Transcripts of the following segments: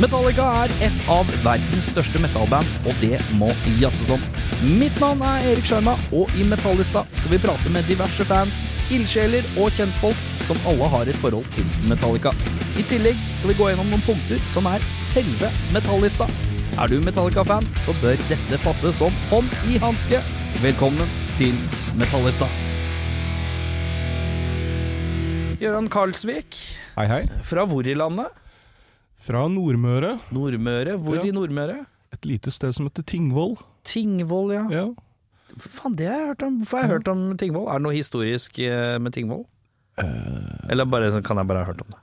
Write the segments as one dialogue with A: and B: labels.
A: Metallica er et av verdens største metallband, og det må jazzes om. Mitt navn er Erik Sjarma, og i Metallista skal vi prate med diverse fans, ildsjeler og kjentfolk som alle har et forhold til Metallica. I tillegg skal vi gå gjennom noen punkter som er selve Metallista. Er du Metallica-fan, så bør dette passe som hånd i hanske. Velkommen til Metallista. Gøran Karlsvik,
B: Hei, hei.
A: fra hvor i landet?
B: Fra Nordmøre.
A: Nordmøre. Hvor
B: Ja.
A: i Nordmøre?
B: Et lite sted som heter Tingvoll.
A: Tingvoll, ja.
B: Ja.
A: Faen, det har jeg hørt om. Hvorfor har jeg hørt om Tingvoll? Er det noe historisk eh, med Tingvoll? Eller bare, sånn, kan jeg bare ha hørt om det?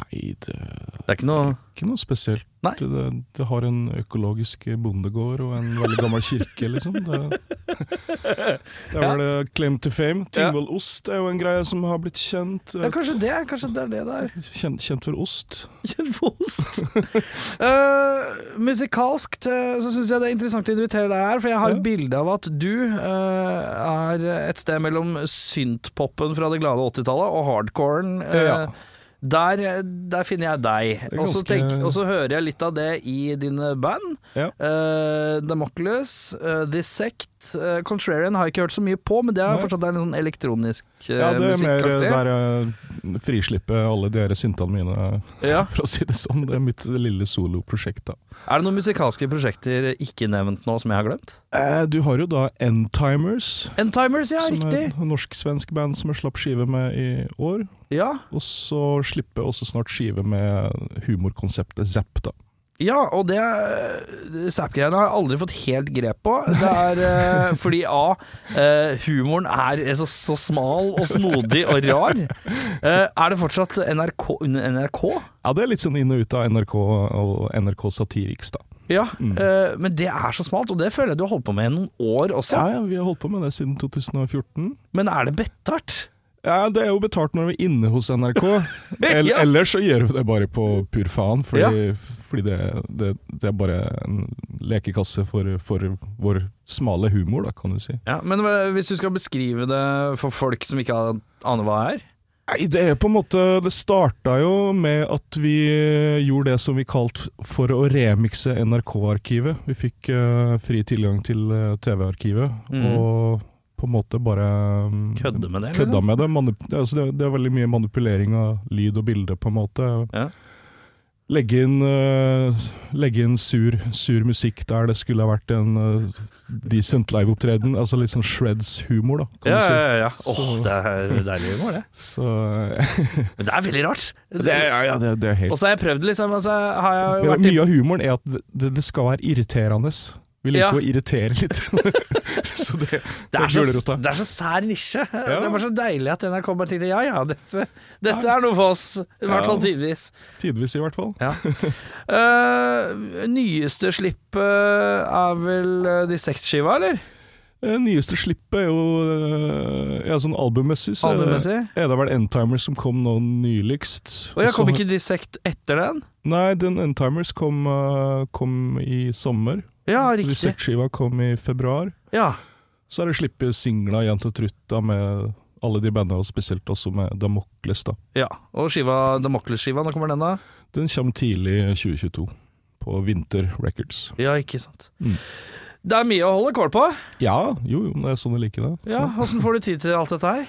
B: Nei, det
A: Det er ikke noe
B: Ikke noe spesielt.
A: Nei.
B: Det, det har en økologisk bondegård og en veldig gammel kirke, liksom. Det, det er vel eh, claim to fame. Tingvollost er jo en greie som har blitt kjent. eh,
A: ja, Kanskje det kanskje det er det det er.
B: Kjent, kjent for ost.
A: Kjent for ost. Eh, musikalsk eh, så syns jeg det er interessant å invitere deg her, for jeg har et
B: Ja.
A: bilde av at du eh, er et sted mellom synthpopen fra det glade 80-tallet og hardcoren. eh,
B: Ja.
A: Der, der finner jeg deg.
B: Det er
A: Og så
B: ganske-
A: tenk- og så hører jeg litt av det i dine band.
B: Ja.
A: Uh, Democulus, uh, This Sect, eh, Contrarian har jeg ikke hørt så mye på, men det er
B: Nei.
A: fortsatt en sånn elektronisk uh,
B: Ja, det er mer eh,
A: musikkarakter.
B: der jeg frislippe alle de her syntene mine,
A: Ja.
B: for å si det sånn. Det er mitt lille soloprosjekt, da.
A: Er det noen musikalske prosjekter ikke nevnt nå som jeg har glemt?
B: Eh, Du har jo da Endtimers.
A: Endtimers, ja,
B: som
A: riktig!
B: er et norsk-svensk band som jeg slapp skive med i år.
A: Ja.
B: Og så slipper jeg også snart skive med humorkonseptet Zapp, da.
A: ja, og det Zapp-greiene har jeg aldri fått helt grep på. Det er eh, fordi A. eh, humoren er så, så smal og snodig og rar. Eh, er det fortsatt NRK, under NRK?
B: Ja, det er litt sånn inn og ut av NRK og NRK Satiriks, da.
A: Ja,
B: Mm.
A: eh, men det er så smalt, og det føler jeg du har holdt på med i noen år også.
B: Ja, ja, vi har holdt på med det siden 2014.
A: Men er det bettart?
B: Ja, Det er jo betalt når vi er inne hos NRK. El
A: Ja.
B: Ellers så gjør vi det bare på pur faen, fordi, fordi det, det, det er bare en lekekasse for, for vår smale humor, da, kan du si.
A: Ja, men hva- hvis du skal beskrive det for folk som ikke an- aner hva det er
B: Nei, det er på en måte Det starta jo med at vi gjorde det som vi kalte for å remikse NRK-arkivet. Vi fikk eh, fri tilgang til eh, TV-arkivet,
A: Mhm.
B: og på en måte bare mm,
A: Kødde med det? liksom?
B: kødda med det. Manip altså det. Det er veldig mye manipulering av lyd og bilde, på en måte.
A: Ja.
B: Legge inn, eh, legge inn sur, sur musikk der det skulle ha vært en eh, decent liveopptreden. Altså litt sånn Shreds-humor, da, kan
A: Ja,
B: du si.
A: ja, ja.
B: Så-
A: Åh, det er deilig humor, det.
B: Så eh,
A: Men det er veldig rart.
B: Det er, ja, ja, det, det er helt
A: Og så har jeg prøvd, liksom. Og så har jeg jo
B: ja,
A: vært i
B: Mye av humoren er at det, det skal være irriterende. Vi liker
A: Ja.
B: å irritere litt. så det,
A: det er, så,
B: gulrota.
A: det er så sær nisje.
B: Ja.
A: Det er bare så deilig at NRK bare tenkte ja ja, dette, dette er noe for oss. I hvert fall tidvis.
B: Tidvis, i hvert fall.
A: Ja. Eh, nyeste slippet er vel uh, Dissekt-skiva, eller?
B: Det Eh, nyeste slippet er jo eh, ja, sånn albumessig, så er det,
A: Albemmessig?
B: er det vel Endtimers som kom nå nyligst.
A: Og jeg kom
B: så-
A: ikke Dissekt etter den?
B: Nei, den Endtimers kom, eh, kom i sommer.
A: Ja, riktig.
B: Research-skiva kom i februar.
A: Ja.
B: Så er det slippet singler jevnt og trutt da, med alle de bandene, og spesielt også med Damocles. da.
A: Ja, og skiva, Damocles-skiva, når kommer den da?
B: Den kommer tidlig 2022 på Winter Records.
A: Ja, ikke sant.
B: Mm.
A: Det er mye å holde kål på.
B: Ja, jo, jo, det er sånn jeg liker det. Så-
A: Ja, Åssen får du tid til alt dette her?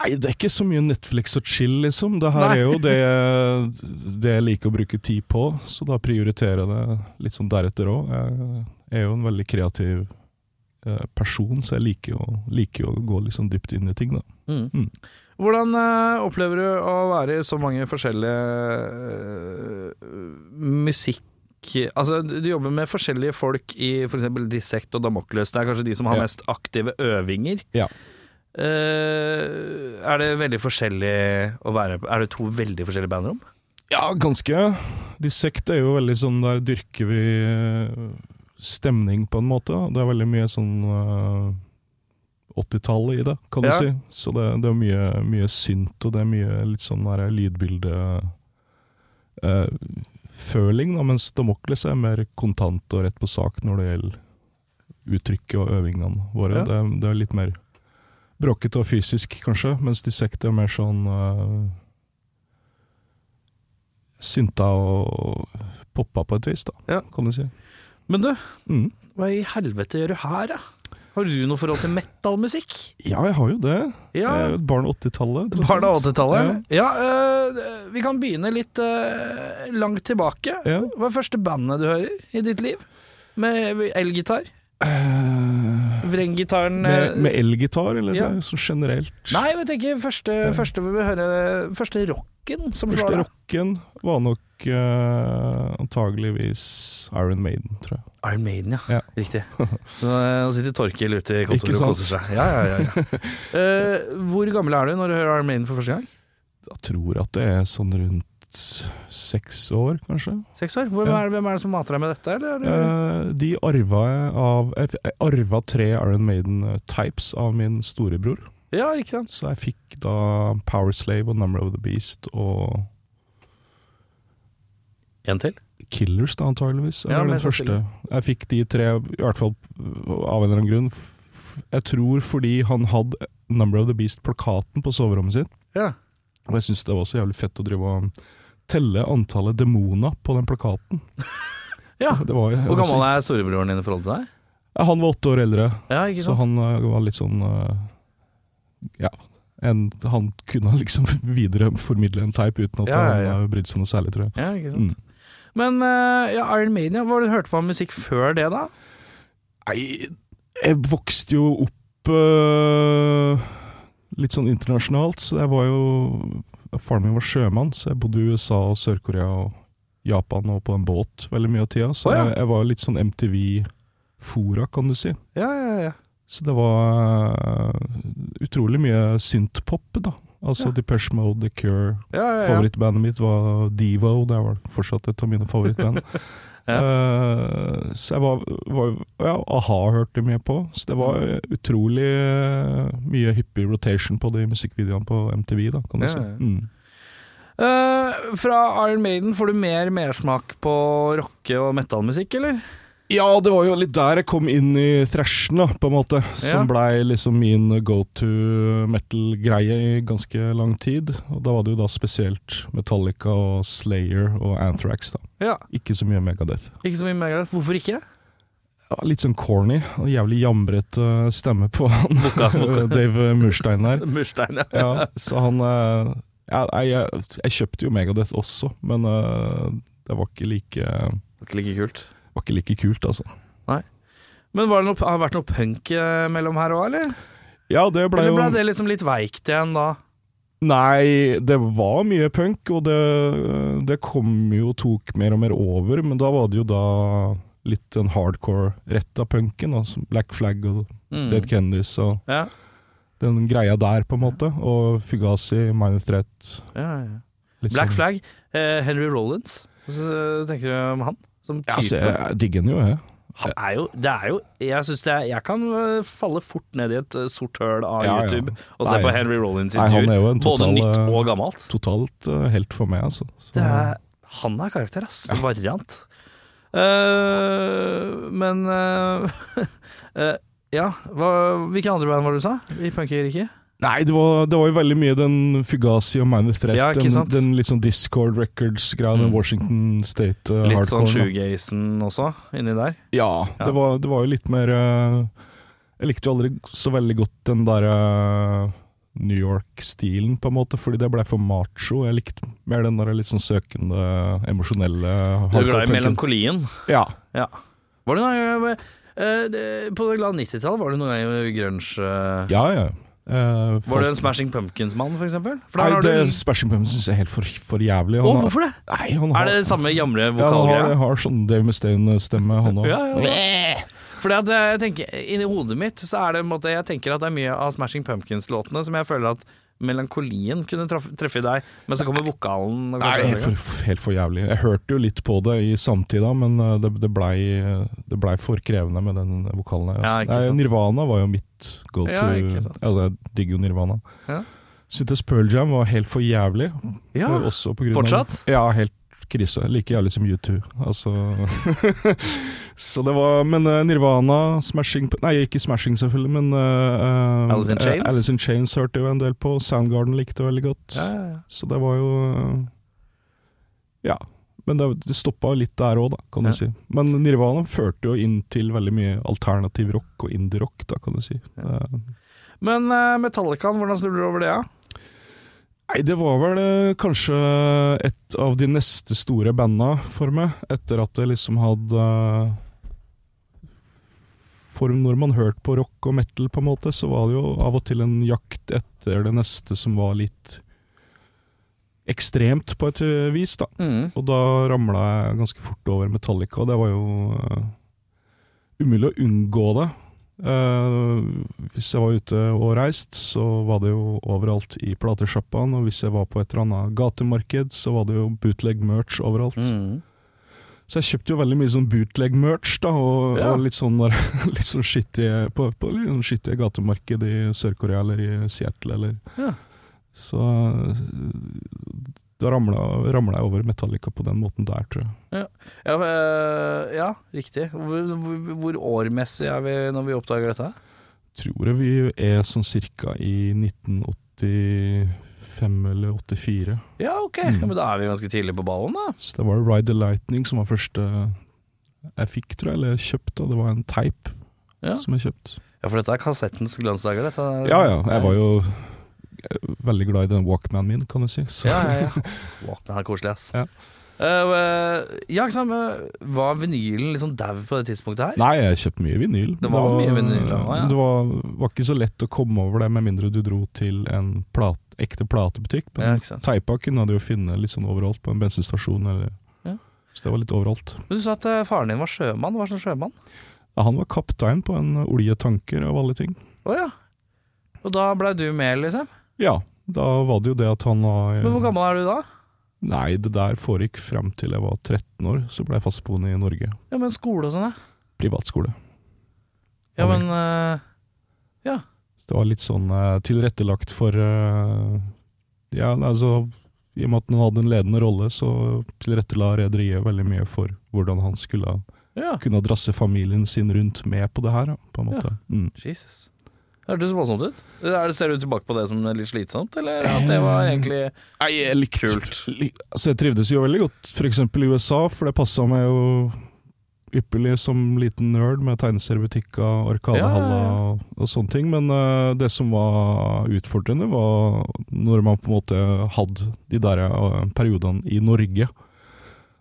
B: Nei, det er ikke så mye Netflix og chill, liksom. Det her
A: Nei.
B: er jo det, det jeg liker å bruke tid på, så da prioriterer jeg det litt sånn deretter òg. Jeg er jo en veldig kreativ eh, person, så jeg liker å, liker å gå litt sånn dypt inn i ting, da. Mm.
A: Hvordan eh, opplever du å være i så mange forskjellige eh, musikk... Altså, du du jobber med forskjellige folk i f.eks. Dissekt og Damocles. Det er kanskje de som har
B: Ja.
A: mest aktive øvinger.
B: Ja.
A: Eh, er det veldig forskjellig å være Er det to veldig forskjellige bandrom?
B: Ja, ganske. Dissekt er jo veldig sånn Der dyrker vi eh, stemning, på en måte. Det er veldig mye sånn eh, 80-tallet i det, kan
A: Ja.
B: du si. Så det, det er mye, mye synt, og det er mye litt sånn her lydbildeføling, da, mens Damokles er mer kontant og rett på sak når det gjelder uttrykket og øvingene våre.
A: Ja.
B: Det, er- det er litt mer bråkete og fysisk, kanskje, mens Dissect er mer sånn eh, Synta og poppa på et vis, da,
A: Ja.
B: kan du si.
A: Men du,
B: Mm.
A: hva i helvete gjør du her, da? Har du noe forhold til metal-musikk?
B: Ja, jeg har jo det.
A: Ja,
B: Jeg er jo et barn av 80-tallet. tross
A: Barn av
B: alt.
A: 80-tallet? Ja, øh, vi kan begynne litt øh, langt tilbake.
B: Ja. Ja.
A: Hva er første bandet du hører i ditt liv? Med elgitar? Vrenggitaren
B: Eh, Med,
A: øh,
B: med elgitar, eller
A: Ja.
B: så, så generelt?
A: Nei, jeg tenker første, første vi vil høre Første rocken som slår
B: Første
A: deg.
B: rocken var nok eh, antageligvis Iron Maiden, tror jeg.
A: Iron Maiden, ja.
B: Ja.
A: Riktig. Så eh, nå sitter Torkil ute i
B: Ikke
A: kontoret og
B: sant?
A: koser seg. Ja, ja, ja, ja. Eh, hvor gammel er du når du hører Iron Maiden for første gang?
B: Jeg tror at det er sånn rundt seks år, kanskje.
A: Seks år? Hvor,
B: Ja.
A: er, hvem er det som mater deg med dette? Eller? er du-
B: Eh, de arva jeg av Jeg f- jeg arva tre Iron Maiden-types av min storebror.
A: Ja, ikke sant.
B: Så jeg fikk da Power Slave og Number of the Beast og
A: En til?
B: Killers, da, antageligvis.
A: Ja,
B: Eller
A: men
B: den
A: så
B: første. Jeg fikk de tre, i hvert fall øh, av en eller annen grunn. F- Jeg tror fordi han hadde Number of the Beast-plakaten på soverommet sitt.
A: Ja.
B: Og jeg syns det var så jævlig fett å drive og um, telle antallet demoner på den plakaten.
A: ja.
B: Det var,
A: Hvor gammel er storebroren din i forhold til deg?
B: Han var åtte år eldre,
A: Ja, ikke
B: så
A: sant?
B: han øh, var litt sånn øh, Ja. En, han kunne liksom videreformidle en teip uten at
A: Ja, ja, ja.
B: han øh, brydde seg noe særlig, tror jeg.
A: Ja, ikke
B: Mm.
A: sant? Men eh, ja, Iron Maiden, ja. Hva har du hørt på av musikk før det, da?
B: Nei, jeg vokste jo opp øh, litt sånn internasjonalt, så jeg var jo Faren min var sjømann, så jeg bodde i USA og Sør-Korea og Japan og på en båt veldig mye av tida, så
A: Å, ja.
B: jeg, jeg var litt sånn MTV-fora, kan du si.
A: Ja, ja, ja.
B: Så det var øh, utrolig mye synthpop, da. Altså
A: Ja.
B: Depeche Mode, The Cure,
A: ja, ja, ja.
B: Favorittbandet mitt var Devo, det er vel fortsatt et av mine favorittband. Eh, så jeg var, var Ja, a-ha hørte jeg mye på. Så det var eh, utrolig eh, mye hyppig rotation på de musikkvideoene på MTV, da, kan du
A: Ja,
B: si.
A: ja.
B: Mm.
A: Eh, fra Iron Maiden får du mer mersmak på rocke- og metallmusikk, eller?
B: Ja, det var jo litt der jeg kom inn i thrashen, da, på en måte. Som
A: Ja.
B: blei liksom min go to metal-greie i ganske lang tid. Og da var det jo da spesielt Metallica og Slayer og Anthrax, da.
A: Ja,
B: Ikke så mye Megadeth.
A: Ikke så mye Megadeth. Hvorfor ikke?
B: ja, litt sånn corny. og Jævlig jamret eh, stemme på han Dave Murstein der.
A: Murstein, ja.
B: Ja, så han eh, ja, nei, jeg, jeg kjøpte jo Megadeth også, men eh, det var ikke like,
A: Ikke like kult.
B: var ikke like kult, altså.
A: Men var det noe, har det vært noe punk eh, mellom her òg, eller?
B: Ja, det ble
A: Eller
B: jo
A: ble det liksom litt veikt igjen da?
B: Nei, det var mye punk, og det, det kom jo og tok mer og mer over, men da var det jo da litt den hardcore rett av punken, da, som Black Flag og
A: Mm.
B: Dead Kennedys og
A: Ja.
B: den greia der, på en måte. Og Fugazi, Minor Threat
A: Ja, ja.
B: litt
A: Black
B: sånn-
A: Flag, eh, Henry Rollins. Så tenker du om han som
B: Ja,
A: type?
B: altså, jeg, jeg digger den jo, jeg.
A: han er jo, det er jo Jeg synes det er, Jeg kan eh, falle fort ned i et eh, sort høl av
B: Ja, ja.
A: YouTube og se
B: Nei.
A: på Henry Rollins
B: Nei, han
A: intervjuer.
B: er jo en
A: Både
B: total,
A: nytt
B: eh,
A: og gammalt.
B: Totalt eh, helt for meg, altså. Så,
A: Det er, han er karakter, ass. Variant. Eh, men eh, eh, Ja, hva, hvilke andre band var det du sa? I punker-riket?
B: Nei, det var, det var jo veldig mye den Fugazi og Minor Threat,
A: Ja, ikke
B: den,
A: sant?
B: den litt sånn Discord Records-greia, den
A: Mm.
B: Washington State eh,
A: Litt sånn
B: hardcore. da.
A: shoegazen også, inni der.
B: Ja,
A: Ja.
B: Det, var, det var jo litt mer eh, Jeg likte jo aldri så veldig godt den der eh, New York-stilen, på en måte, fordi det ble for macho. Jeg likte mer den der litt sånn søkende, eh,
A: Du
B: emosjonelle
A: er glad i
B: hardcore-punken.
A: melankolien.
B: Ja.
A: Var det noen gang, eh, det- På det glade 90-tallet var det noen gang grunge eh,
B: ja, ja. Eh,
A: Var
B: folk-
A: det en Smashing Pumpkins-mann, for eksempel? For der
B: Nei,
A: har
B: det
A: du-
B: Smashing Pumpkins synes jeg er helt for, for jævlig.
A: Å,
B: Han har,
A: hvorfor det?
B: nei, han
A: Er
B: har,
A: det det samme gamle
B: ja, han har,
A: vokalgreia?
B: har sånn Dave Mustaine-stemme, han òg.
A: Ja, ja, ja. Fordi at eh, jeg tenker Inni hodet mitt så er det en måte Jeg tenker at det er mye av Smashing Pumpkins-låtene som jeg føler at melankolien kunne traf- treffe i deg, men så kommer vokalen. og
B: Nei,
A: kanskje-
B: helt for, helt for jævlig. Jeg hørte jo litt på det i samtida, men eh, det, det blei det ble for krevende med den vokalen her. Altså.
A: Ja, ikke sant.
B: Nei, Nirvana var jo mitt go to.
A: Ja, ikke sant.
B: altså, jeg digger jo Nirvana.
A: Ja.
B: Syntes Pearl Jam var helt for jævlig.
A: ja.
B: og Også på grunn
A: Fortsatt?
B: Av, ja, helt krise. Like jævlig som U2. Altså Så det var Men eh, Nirvana, Smashing Nei, ikke Smashing selvfølgelig, men eh, eh,
A: Alice in Chains?
B: eh, Alice in Chains hørte jo en del på. Soundgarden likte jeg veldig godt.
A: Ja, ja, ja.
B: Så det var jo øh, Ja. Men det, det stoppa litt der òg, da, kan
A: Ja.
B: du si. Men Nirvana førte jo inn til veldig mye alternativ rock og indie-rock, da, kan du si.
A: Ja.
B: Eh,
A: Men uh, Metallicaen, hvordan snubler du over det? Ja?
B: Nei, det var vel eh, kanskje et av de neste store banda for meg, etter at jeg liksom hadde eh, For når man hørte på rock og metal, på en måte, så var det jo av og til en jakt etter det neste som var litt ekstremt, på et eh, vis, da.
A: Mm.
B: Og da ramla jeg ganske fort over Metallica, og det var jo eh, umulig å unngå det. Eh, hvis jeg var ute og reist, så var det jo overalt i platesjappene, og hvis jeg var på et eller annet gatemarked, så var det jo bootleg-merch overalt.
A: Mm.
B: Så jeg kjøpte jo veldig mye sånn bootleg-merch, da, og,
A: Ja.
B: og litt sånn, litt sånn skittige på, på litt sånn skittige gatemarked i Sør-Korea eller i Seattle, eller
A: Ja.
B: Så da ramla, ramla jeg over Metallica på den måten der, tror jeg.
A: Ja, eh, ja, riktig. Hvor, hvor, hvor årmessig er vi når vi oppdager dette?
B: Tror jeg vi er sånn cirka i 1985 eller 84.
A: Ja, ok.
B: Mm.
A: Ja, men da er vi ganske tidlig på ballen, da.
B: Så det var Ride the Lightning som var første jeg fikk, tror jeg, eller kjøpt. Da. Det var en teip
A: Ja.
B: som jeg kjøpte.
A: Ja, for dette er kassettens glansdager, dette.
B: Ja ja, jeg var jo eh, veldig glad i den Walkmanen min, kan du si. Så.
A: Ja, ja, ja. Wow, den er koselig, ass.
B: Ja.
A: Eh, eh, ja, ikke sant. men Var vinylen liksom dau på det tidspunktet her?
B: Nei, jeg kjøpte mye vinyl.
A: Det var mye vinyl, ja, ja.
B: Det var, var ikke så lett å komme over det, med mindre du dro til en plat, ekte platebutikk.
A: Ja,
B: Men
A: ikke sant.
B: teipa kunne du jo finne litt sånn overalt, på en bensinstasjon eller
A: Ja.
B: Så det var litt overalt.
A: Men du sa at eh, faren din var sjømann. Hva slags sjømann?
B: Ja, han var kaptein på en oljetanker, av alle ting.
A: Å ja. Og da blei du med, liksom?
B: Ja, da var det jo det at han var eh,
A: Men hvor gammel er du da?
B: Nei, det der foregikk frem til jeg var 13 år. Så ble jeg fastboende i Norge.
A: Ja, men skole og sånn, ja.
B: Privatskole.
A: Ja, men eh,
B: Så det var litt sånn eh, tilrettelagt for eh, Ja, altså I og med at han hadde en ledende rolle, så tilrettela rederiet veldig mye for hvordan han skulle
A: Ja,
B: kunne drasse familien sin rundt med på det her, da, på en
A: Ja.
B: måte. Mm.
A: Jesus. Hørtes voldsomt ut. Eh, Er det- Ser du tilbake på det som litt slitsomt, eller at det var egentlig
B: Nei, jeg likte
A: Kult.
B: li- Altså, jeg trivdes jo veldig godt f.eks. i USA, for det passa meg jo ypperlig som liten nerd med tegneseriebutikker, Arkadehalla
A: Ja, ja, ja.
B: og, og sånne ting. Men eh, det som var utfordrende, var når man på en måte hadde de der eh, periodene i Norge.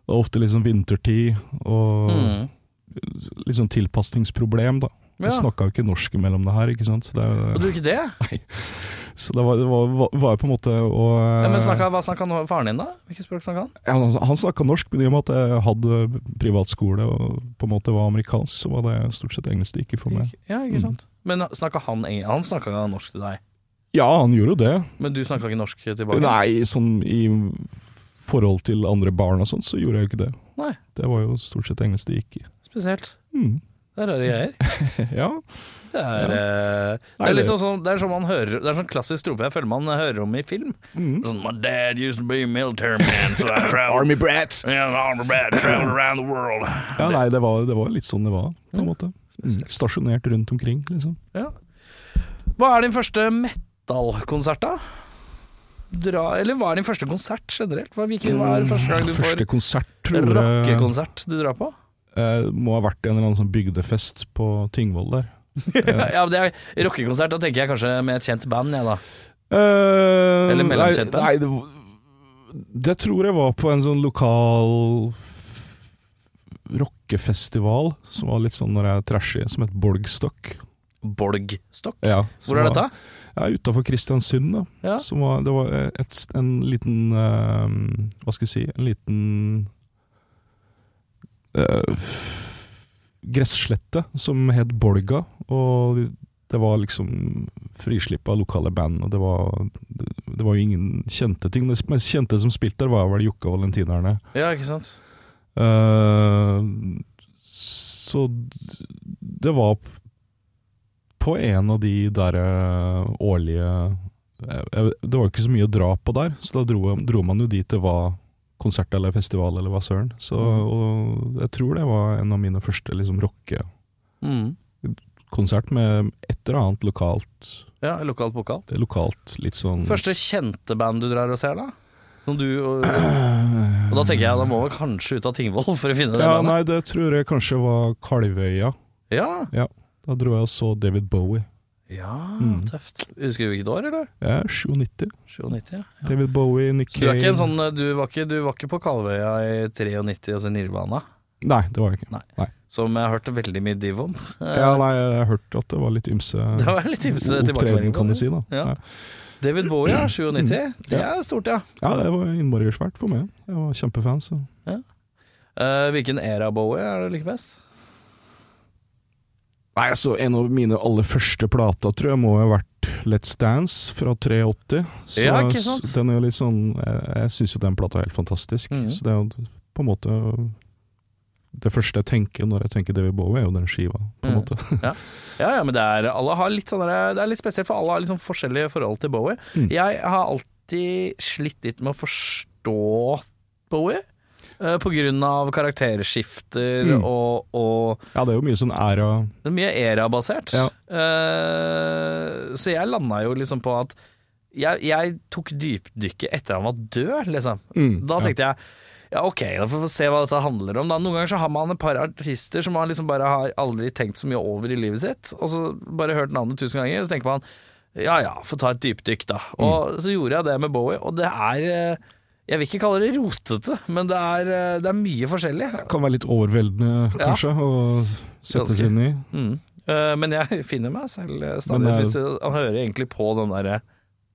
B: Det var ofte liksom vintertid og
A: mm.
B: litt sånn tilpasningsproblem, da.
A: ja.
B: Vi snakka jo ikke norsk mellom det her, ikke sant. Så det,
A: Og du ikke det?
B: så det var, det var, var jo på en måte å
A: Ja, men
B: eh,
A: snakka, Hva snakka nå- faren din, da? Hvilket språk snakka han?
B: Ja, han han snakka norsk, men i og med at jeg hadde privatskole og på en måte var amerikansk, så var det stort sett engelsk det gikk i for meg. Mm.
A: Ja, ikke sant. Men snakka han eng- Han snakka ikke norsk til deg,
B: Ja, han gjorde jo det.
A: men du snakka ikke norsk tilbake?
B: Nei, sånn i forhold til andre barn og sånn, så gjorde jeg jo ikke det.
A: Nei.
B: Det var jo stort sett engelsk det gikk i.
A: Spesielt.
B: Mm.
A: Det er rare greier.
B: Ja.
A: Det er, eh, det
B: Nei,
A: er
B: det-
A: liksom sånn Det er sånn man hører Det er sånn klassisk trope jeg føler man hører om i film.
B: Mm.
A: Sånn, My dad used to be a military man, so I traveled
B: Army brats!
A: Yeah, an armor brat traveled around the world.
B: Ja, nei, det var, det var litt sånn det var, på en måte. Mm. Stasjonert rundt omkring, liksom.
A: Ja. Hva er din første metal-konsert, da? Dra, eller hva er din første konsert generelt? Hva, hvilken, hva er første gang du
B: Første konsert,
A: får
B: tror jeg
A: rockekonsert du drar på?
B: eh, må ha vært en eller annen sånn bygdefest på Tingvoll der.
A: ja, men det er Rockekonsert, da tenker jeg kanskje med et kjent band, jeg, da.
B: Eh,
A: Eller mellomkjent band?
B: Nei, nei det, det tror jeg var på en sånn lokal f- rockefestival, som var litt sånn når jeg er trashy, som het Bolgstokk.
A: Bolgstokk.
B: Ja, som
A: Hvor er
B: var-
A: dette?
B: Ja, Utafor Kristiansund, da.
A: Ja.
B: Som var, det var eh, et, s- en liten eh, Hva skal jeg si En liten eh, f- gresslette som het Bolga. Og de- Det var liksom frislipp av lokale band, og det var, det var jo ingen kjente ting. Det mest kjente som spilte der, var vel Jokke og Valentinerne.
A: Ja, ikke sant?
B: Eh, så d- det var p- på en av de der eh, årlige jeg- jeg- Det var jo ikke så mye å dra på der, så da dro, dro man jo dit det var konsert eller festival eller hva søren. Så
A: Mm.
B: og jeg tror det var en av mine første liksom, rockekonsert Mm. med et eller annet lokalt,
A: Ja, lokalt pokal.
B: lokalt litt sånn
A: Første kjente band du drar og ser, da? Som du og, og da tenker jeg da må vi kanskje ut av Tingvoll for å finne det
B: Ja,
A: bandet.
B: nei, det tror jeg kanskje var Kalvøya.
A: Ja.
B: Da dro jeg og så David Bowie.
A: ja,
B: Mm.
A: tøft. Husker du hvilket år, eller?
B: Jeg er 97.
A: 97, ja. ja.
B: David Bowie, Nick
A: Så du, er
B: Cave
A: ikke en sånn, du, var ikke, du var ikke på Kalvøya i 93 og så Nirvana,
B: Nei, det var jeg ikke.
A: som jeg har hørt veldig mye div om? Eh,
B: Ja, nei, jeg hørte at det var litt ymse
A: Det var litt ymse
B: opptreden,
A: tilbakemelding. på
B: kan du
A: det.
B: si. da
A: Ja.
B: Ja,
A: David Bowie, ja, 97. Det er stort, ja.
B: ja det var innmari svært for meg. Jeg var kjempefan, så
A: Eh, hvilken era Bowie er det du liker best?
B: Nei, altså, en av mine aller første plater tror jeg må ha vært Let's Dance fra 83. Så
A: Ja, ikke sant?
B: s- den er jo litt sånn Jeg, jeg syns jo den plata er helt fantastisk.
A: Mhm.
B: Så det er jo på en måte Det første jeg tenker når jeg tenker David Bowie, er jo den skiva, på en
A: Mhm.
B: måte.
A: Ja, ja, men det er, alle har litt sånn der- det er litt spesielt, for alle har litt sånn forskjellige forhold til Bowie.
B: Mm.
A: Jeg har alltid slitt litt med å forstå Bowie. eh, På grunn av karakterskifter
B: Mm.
A: og, og
B: Ja, det er jo mye sånn æra
A: det er mye era-basert.
B: Ja.
A: Eh, så jeg landa jo liksom på at jeg, jeg tok dypdykket etter han var død, liksom.
B: Mm,
A: Da
B: ja.
A: tenkte jeg ja, ok, da får vi se hva dette handler om. Da. Noen ganger så har man et par artister som man liksom bare har aldri tenkt så mye over i livet sitt, og så bare hørt navnet tusen ganger, så tenker man ja ja, få ta et dypdykk, da.
B: Mm.
A: Og så gjorde jeg det med Bowie, og det er eh, Jeg vil ikke kalle det rotete, men det er, eh, det er mye forskjellig.
B: Kan være litt overveldende,
A: Ja.
B: kanskje, å sette
A: Ganske.
B: seg inn i.
A: Mm. Eh, Men jeg finner meg selv eh, stadig
B: Men det er-
A: ut hvis jeg jeg hører egentlig på den derre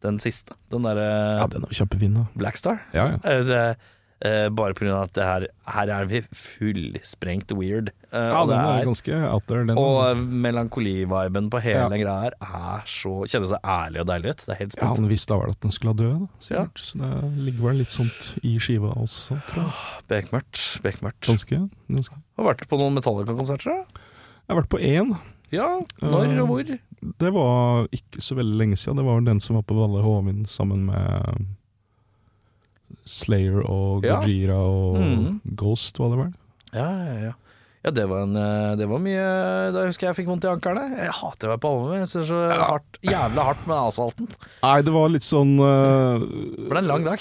A: den siste. Den derre
B: Ja, den er jo kjempefin, da.
A: Blackstar.
B: Ja, ja.
A: Eh, det- eh, Bare på grunn av at det her, her er vi fullsprengt weird. Eh,
B: Ja,
A: og
B: den
A: det
B: er
A: er,
B: ganske out there, den.
A: og
B: altså.
A: eh, melankoliviben på hele
B: Ja.
A: den greia her er så Kjennes så ærlig og deilig ut. Det er helt
B: Ja,
A: spent.
B: han visste da vel at den skulle dø, da, sikkert. Så det ligger vel litt sånt i skiva også, tror
A: Ah.
B: jeg.
A: Bekmørkt. bekmørkt.
B: Ganske, ganske.
A: Har vært på noen Metallica-konserter, da?
B: Jeg har vært på én.
A: Ja.
B: Eh,
A: Når og hvor?
B: Det var ikke så veldig lenge siden. Det var den som var på Valle Hovin sammen med Slayer og
A: Ja.
B: Gojira og
A: Mhm.
B: Ghost, var det vel?
A: Ja, ja, ja. Ja, det var, en, eh, det var mye Da husker jeg jeg fikk vondt i ankerne. Jeg hater å være på Alverud. Jeg synes det er så hardt, jævla hardt med asfalten.
B: Nei, det var litt sånn eh,
A: Det ble en lang dag.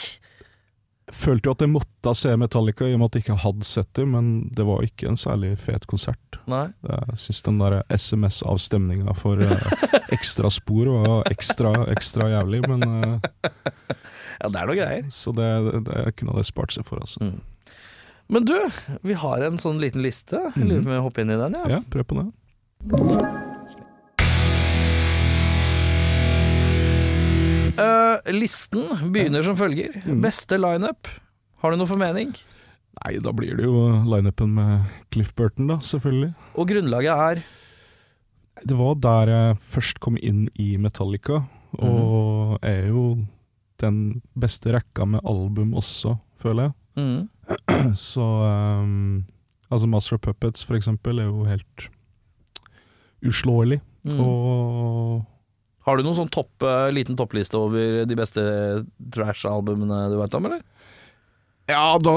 B: Følte jo at jeg måtte se Metallica i og med at jeg ikke hadde sett det, men det var ikke en særlig fet konsert.
A: Nei.
B: Jeg syns den der SMS-avstemninga for eh, ekstra spor var ekstra, ekstra jævlig, men eh,
A: Ja, det er noe greier.
B: Så det, det kunne det spart seg for, altså.
A: Men du, vi har en sånn liten liste. Jeg lurer på om vi hopper inn i den, ja.
B: Ja, prøv på det.
A: Eh, listen begynner som følger. Beste lineup. Har du noe formening?
B: Nei, da blir det jo lineupen med Cliff Burton, da, selvfølgelig.
A: Og grunnlaget er
B: Det var der jeg først kom inn i Metallica, og er jo den beste rekka med album også, føler jeg.
A: mm,
B: Så ehm, Altså, Master of Puppets, for eksempel, er jo helt uslåelig,
A: mm.
B: og
A: Har du noen sånn topp, eh, liten toppliste over de beste trash-albumene du veit om, eller?
B: Ja, da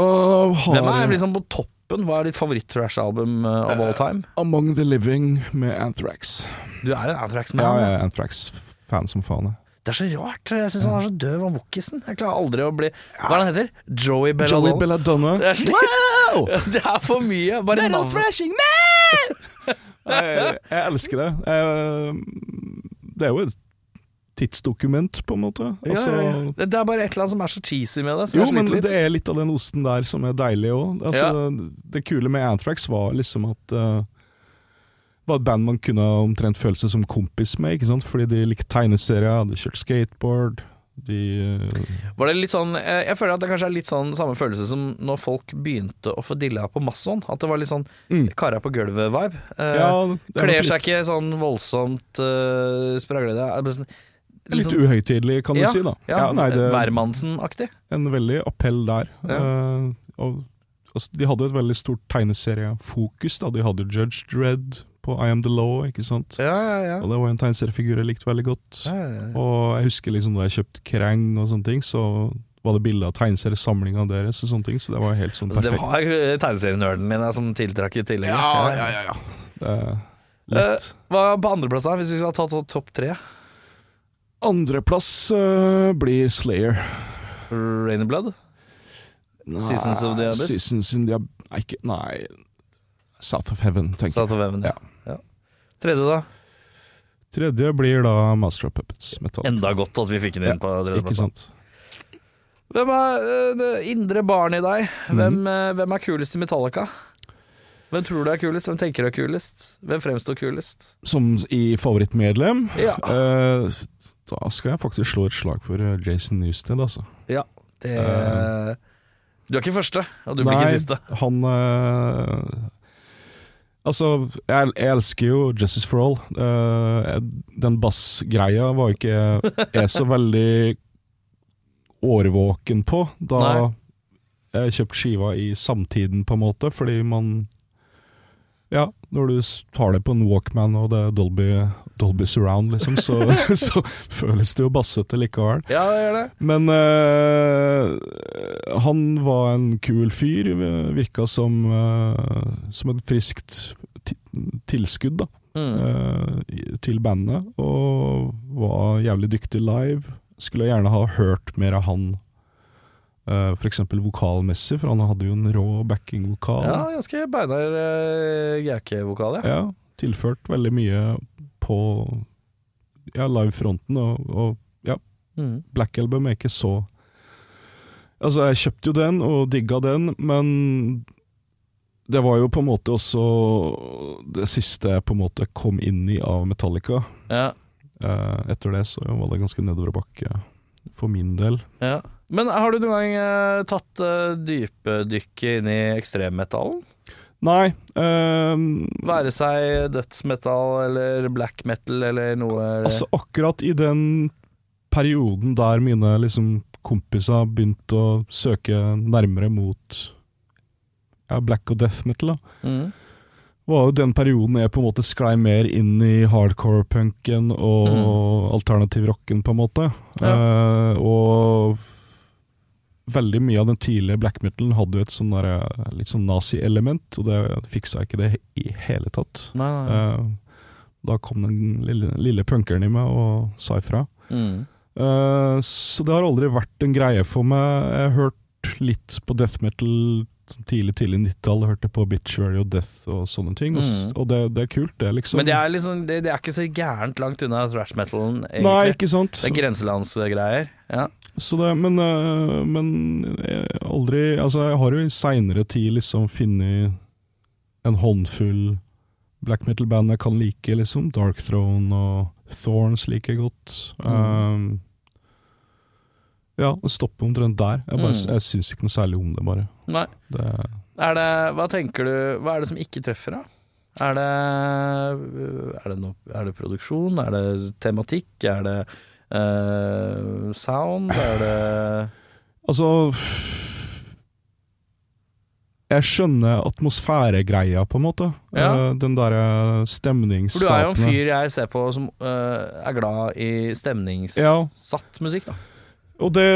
B: har
A: Hvem er liksom på toppen? Hva er ditt favoritt-trash-album eh, of all time?
B: Among the Living med Anthrax.
A: Du er en Anthrax-man.
B: Ja,
A: ja.
B: jeg er Anthrax-fan som faen, jeg.
A: Det er så rart. Jeg syns han er så døv, han vokkisen. Jeg klarer aldri å bli Hva er det han heter? Joey Belladonna.
B: Joey Belladonna.
A: Det er slik- Det er for mye. Bare navnet.
C: Thrashing
B: Jeg, jeg elsker det. Jeg, det er jo et tidsdokument, på en måte. Altså,
A: Ja, ja, ja. Det det er bare et eller annet som er så cheesy med det. Som
B: Jo,
A: jeg
B: men
A: sliter litt.
B: det er litt av den osten der som er deilig òg. Altså, Det kule med Anthrax var liksom at eh, det var et band man kunne omtrent føle seg som kompis med, ikke sant? fordi de likte tegneserier, hadde kjørt skateboard, De eh,
A: Var det litt sånn, eh, jeg føler at det kanskje er litt sånn samme følelse som når folk begynte å få dilla på Masson. At det var litt sånn
B: Mm.
A: kara på gulvet-vibe. Eh,
B: ja, det er nok
A: kler
B: litt,
A: seg ikke sånn voldsomt uh, spraglete. Er bare sånn-
B: litt
A: sånn-
B: uhøytidelig, kan
A: Ja,
B: du si. da
A: ja, eh,
B: nei, det,
A: Værmannsen-aktig.
B: En veldig appell der. Eh, og, altså, de hadde et veldig stort tegneseriefokus. da De hadde jo Judge Dredd på I Am The Law, ikke sant?
A: Ja, ja, ja.
B: Og det var en tegneseriefigur jeg likte veldig godt.
A: Ja, ja, ja.
B: Og jeg husker liksom da jeg kjøpte Krang og sånne ting, så var det bilde av tegneseriesamlinga deres og sånne ting, så det var helt sånn
A: Altså, det
B: perfekt.
A: var eh, tegneserienerden min eh, som tiltrakk i tillegg.
B: ja, ja, Det er lett.
A: Hva er på andreplass, da, hvis vi skal ta to- topp tre?
B: Andreplass eh, blir Slayer.
A: Rain in Blood? Seasons of the Abyss?
B: Seasons in the Ab- Nei, ikke, nei South of Heaven, tenker jeg.
A: Stat of Heaven, ja. ja. Tredje, da?
B: Tredje blir da Master of Puppets. Metal.
A: Enda godt at vi fikk den
B: Ja,
A: inn på
B: Ikke
A: tredjeplass.
B: sant?
A: Hvem er eh, det indre barnet i deg? Hvem,
B: Mhm.
A: eh, hvem er kulest i Metallica? Hvem tror du er kulest? Hvem tenker du er kulest? Hvem fremstår kulest?
B: Som i favorittmedlem.
A: Ja,
B: eh, da skal jeg faktisk slå et slag for eh, Jason Newsted, altså.
A: det
B: eh,
A: Du er ikke første, og du blir ikke siste.
B: han eh, Altså, jeg, jeg elsker jo Justice for All. Eh, jeg- den bassgreia var ikke jeg så veldig årvåken på da jeg kjøpte skiva i samtiden, på en måte, fordi man ja, når du s- har det på en Walkman og det er Dolby, Dolby Surround, liksom, så, så føles det jo bassete likevel.
A: Ja, det gjør det.
B: Men eh, han var en kul fyr. eh, Virka som, eh, som et friskt ti- tilskudd da,
A: Mm.
B: eh, i- til bandet. Og var jævlig dyktig live. Skulle gjerne ha hørt mer av han, eh, for eksempel vokalmessig, for han hadde jo en rå backingvokal.
A: Ja, ganske beinar uh, Gauke-vokal, ja.
B: Ja, tilført veldig mye på ja, livefronten, og, og
A: Mm.
B: Black Album er ikke så Altså, jeg kjøpte jo den og digga den, men det var jo på en måte også det siste jeg på en måte kom inn i av Metallica.
A: ja.
B: Eh, etter det så var det ganske nedoverbakke for min del.
A: Ja. Men har du noen gang eh, tatt eh, dype dykket inn i ekstremmetallen?
B: Nei ehm,
A: Være seg dødsmetall eller black metal eller noe
B: Altså, akkurat i den perioden der mine liksom, kompiser begynte å søke nærmere mot ja, black og death metal, da.
A: mm.
B: var jo den perioden jeg på en måte sklei mer inn i hardcore-punken og alternativ-rocken, på en måte. Eh, og veldig mye av den tidlige black metal hadde jo et sånn derre- litt sånn nazi-element, og det fiksa ikke det i hele tatt.
A: Nei, nei.
B: Eh, da kom den lille, lille punkeren i meg og sa ifra.
A: Mm.
B: Eh, Så det har aldri vært en greie for meg. Jeg har hørt litt på death metal sånn tidlig tidlig 90-tall. Hørte på Obituary og Death og sånne ting. Og, s-
A: Mm.
B: og det, det er kult, det, liksom.
A: Men det er, liksom, det, det er ikke så gærent langt unna thrash metalen, egentlig.
B: Nei, ikke sant.
A: Det er grenselandsgreier. Ja.
B: Så det, men, eh, men jeg har aldri Altså, jeg har jo i seinere tid liksom funnet en håndfull black metal-band jeg kan like, liksom. Dark Throne og Thorns liker jeg godt.
A: Mm.
B: Um, ja, det stopper omtrent der. Jeg, bare,
A: Mm.
B: jeg syns ikke noe særlig om det, bare.
A: Nei.
B: Det,
A: Er det, hva tenker du Hva er det som ikke treffer, da? Er det, er det, noe, er det produksjon? Er det tematikk? Er det eh, sound? Er det
B: altså Jeg skjønner atmosfæregreia, på en måte.
A: Ja.
B: Eh, Den derre
A: For du er jo en
B: stemningsskapende
A: fyr jeg ser på som eh, er glad i
B: Ja.
A: stemningssatt musikk, da.
B: Og det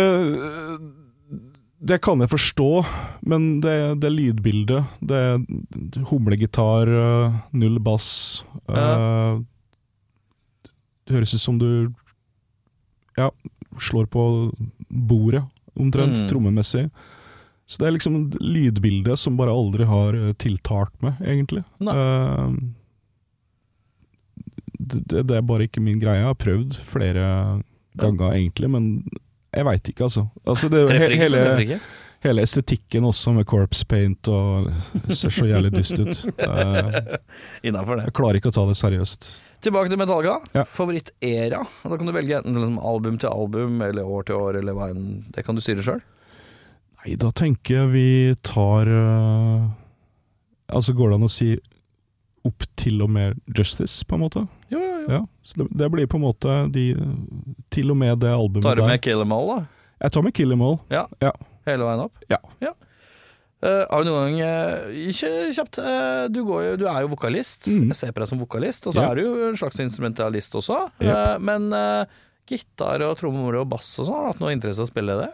B: Det kan jeg forstå, men det, det lydbildet Det er humlegitar, øh, null bass øh,
A: Ja.
B: Det høres ut som du ja, slår på bordet, omtrent,
A: Mm.
B: trommemessig. Så det er liksom lydbildet som bare aldri har øh, tiltalt meg, egentlig.
A: Nei.
B: Eh, det, det er bare ikke min greie. Jeg har prøvd flere ganger, egentlig, men jeg veit ikke, altså. altså det, er jo
A: Treffer
B: he
A: ikke, så
B: hele,
A: treffer ikke.
B: hele estetikken også, med corpse paint og det ser så jævlig dust ut. Eh,
A: Innafor det.
B: Jeg klarer ikke å ta det seriøst.
A: Tilbake til Metallica.
B: Ja.
A: Favoritt-era. Da kan du velge enten liksom album til album eller år til år, eller hva enn. Det kan du styre sjøl.
B: Nei, da tenker jeg vi tar øh, Altså, går det an å si opp til og med Justice, på en måte?
A: Jo, jo, jo.
B: Ja, så det, det blir på en måte de Til og med det albumet
A: Tar du med
B: der.
A: Kill 'Em All, da?
B: Jeg tar med Kill Em All.
A: Hele veien opp?
B: Ja.
A: Eh, har du noen gang eh, Ikke kjapt. eh, du, går jo, du er jo vokalist.
B: Mm.
A: Jeg ser på deg som vokalist, og så
B: Ja.
A: er du jo en slags instrumentalist også.
B: Jep.
A: Eh, men eh, gitar og trommer og bass og sånn, har du hatt noe interesse av å spille det?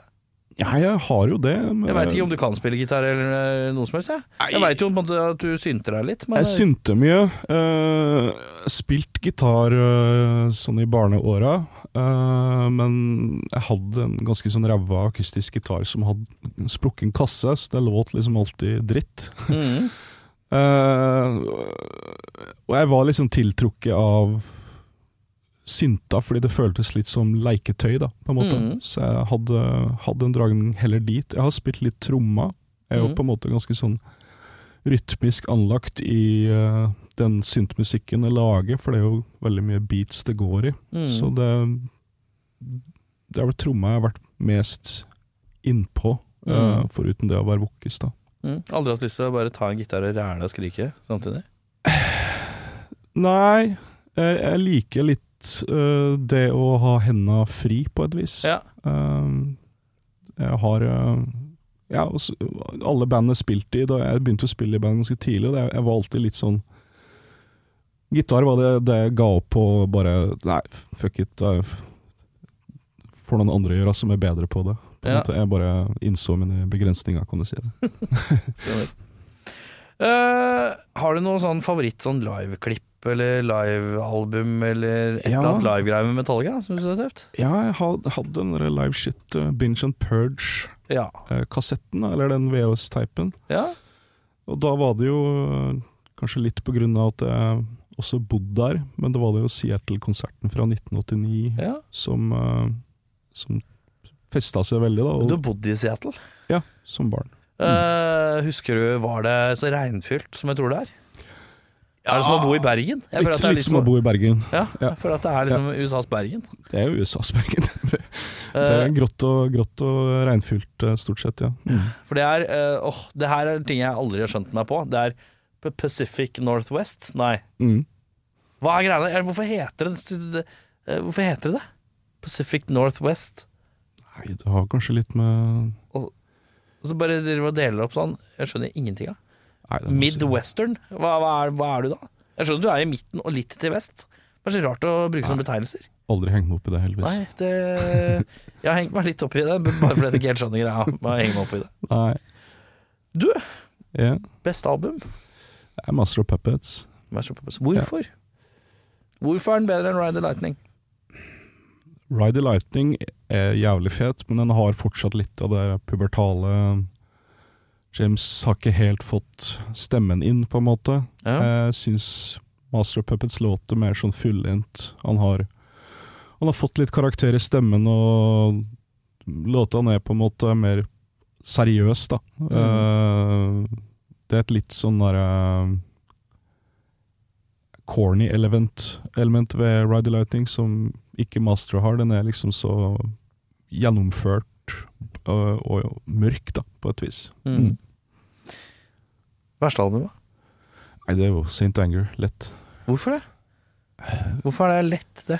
B: Ja, jeg har jo det. Men,
A: Jeg veit ikke om du kan spille gitar eller eh, noe som helst. Jeg, jeg veit jo på en måte at du synter deg litt, men
B: Jeg synte mye. eh, spilt gitar eh, sånn i barneåra. eh, men jeg hadde en ganske sånn ræva akustisk gitar som hadde sprukket en kasse, så det låt liksom alltid dritt.
A: Mhm.
B: Eh, og jeg var liksom tiltrukket av synta, fordi det føltes litt som leiketøy, da, på en måte.
A: Mhm.
B: Så jeg hadde, hadde en dragning heller dit. Jeg har spilt litt tromma. Jeg er jo
A: Mhm.
B: på en måte ganske sånn rytmisk anlagt i eh, den syntmusikken jeg lager, for det er jo veldig mye beats det går i.
A: Mhm.
B: Så det Det er vel tromma jeg har vært mest innpå, eh,
A: Mhm.
B: foruten det å være vokkis, da.
A: Mhm. Aldri hatt lyst til å bare ta en gitar og ræle og skrike samtidig?
B: Nei, jeg, jeg liker litt øh, det å ha henda fri, på et vis.
A: Ja.
B: Ehm, jeg har øh, ja, og så- Alle bandene jeg spilte i da jeg begynte å spille i band ganske tidlig, og det, jeg var alltid litt sånn Gitar var det, det jeg ga opp på, bare Nei, fuck it. da får noen andre gjøre som er bedre på det. På en
A: Ja.
B: måte, jeg bare innså mine begrensninger, kan du si. det.
A: Eh, har du noe sånn favoritt sånn liveklipp eller livealbum eller et
B: Ja.
A: eller annet livegreier med Metallica som du synes er tøft?
B: Ja, jeg had- hadde den der live shit, øh, binge and purge.
A: Ja.
B: eh, kassetten, da, eller den VHS-teipen.
A: ja.
B: Og da var det jo eh, kanskje litt på grunn av at jeg også bodde der, men det var det jo Seattle-konserten fra 1989
A: ja.
B: som, eh, som festa seg veldig, da,
A: Du
B: og, Mm.
A: bodde i Seattle.
B: som barn.
A: Eh, husker du, var det så regnfylt som jeg tror det er? Er det som å bo i Bergen? Jeg føler
B: Litt,
A: at det er liksom
B: litt som å bo i Bergen.
A: Ja,
B: Ja.
A: for at det er liksom USAs Bergen.
B: Det er jo USAs Bergen. Det
A: Eh,
B: er grått og, grått og regnfylt, eh, stort sett, ja. Mm.
A: for det er eh, Åh, det her er ting jeg aldri har skjønt meg på. Det er P- Pacific Northwest. Nei.
B: Mm.
A: Hva er greia? der? Hvorfor heter det det- det eh, Hvorfor heter det det? Pacific Northwest.
B: Nei, det har kanskje litt med
A: Og så bare driver og deler opp sånn. Jeg skjønner ingenting av.
B: Nei, det altså er masse-
A: Midwestern, hva, hva, er, hva er du da? Jeg skjønner du er i midten og litt til vest. Det er så rart å bruke sånne betegnelser.
B: Aldri hengt meg opp i det, heldigvis.
A: Nei, det Jeg har hengt meg litt opp i det, men bare fordi jeg ikke helt skjønner greia. Bare henger meg opp i det.
B: Nei.
A: Du?
B: Ja.
A: Beste album?
B: Det er Master of Puppets.
A: Master of Puppets. Hvorfor? Hvorfor er den bedre enn Ride the Lightning?
B: Ride the Lightning er jævlig fet, men den har fortsatt litt av det der pubertale James har ikke helt fått stemmen inn, på en måte.
A: Ja.
B: Jeg Eh, syns Master of Puppets låter mer sånn fullendt. Han har Han har fått litt karakter i stemmen, og låtene er på en måte mer seriøse, da. Eh, det er et litt sånn derre corny element, element ved Ride the Lightning som ikke Master har. Den er liksom så gjennomført og, og mørk, da, på et vis.
A: Mm. Verste albumet?
B: Nei, det er jo St. Anger, lett.
A: Hvorfor det? Hvorfor er det lett, det?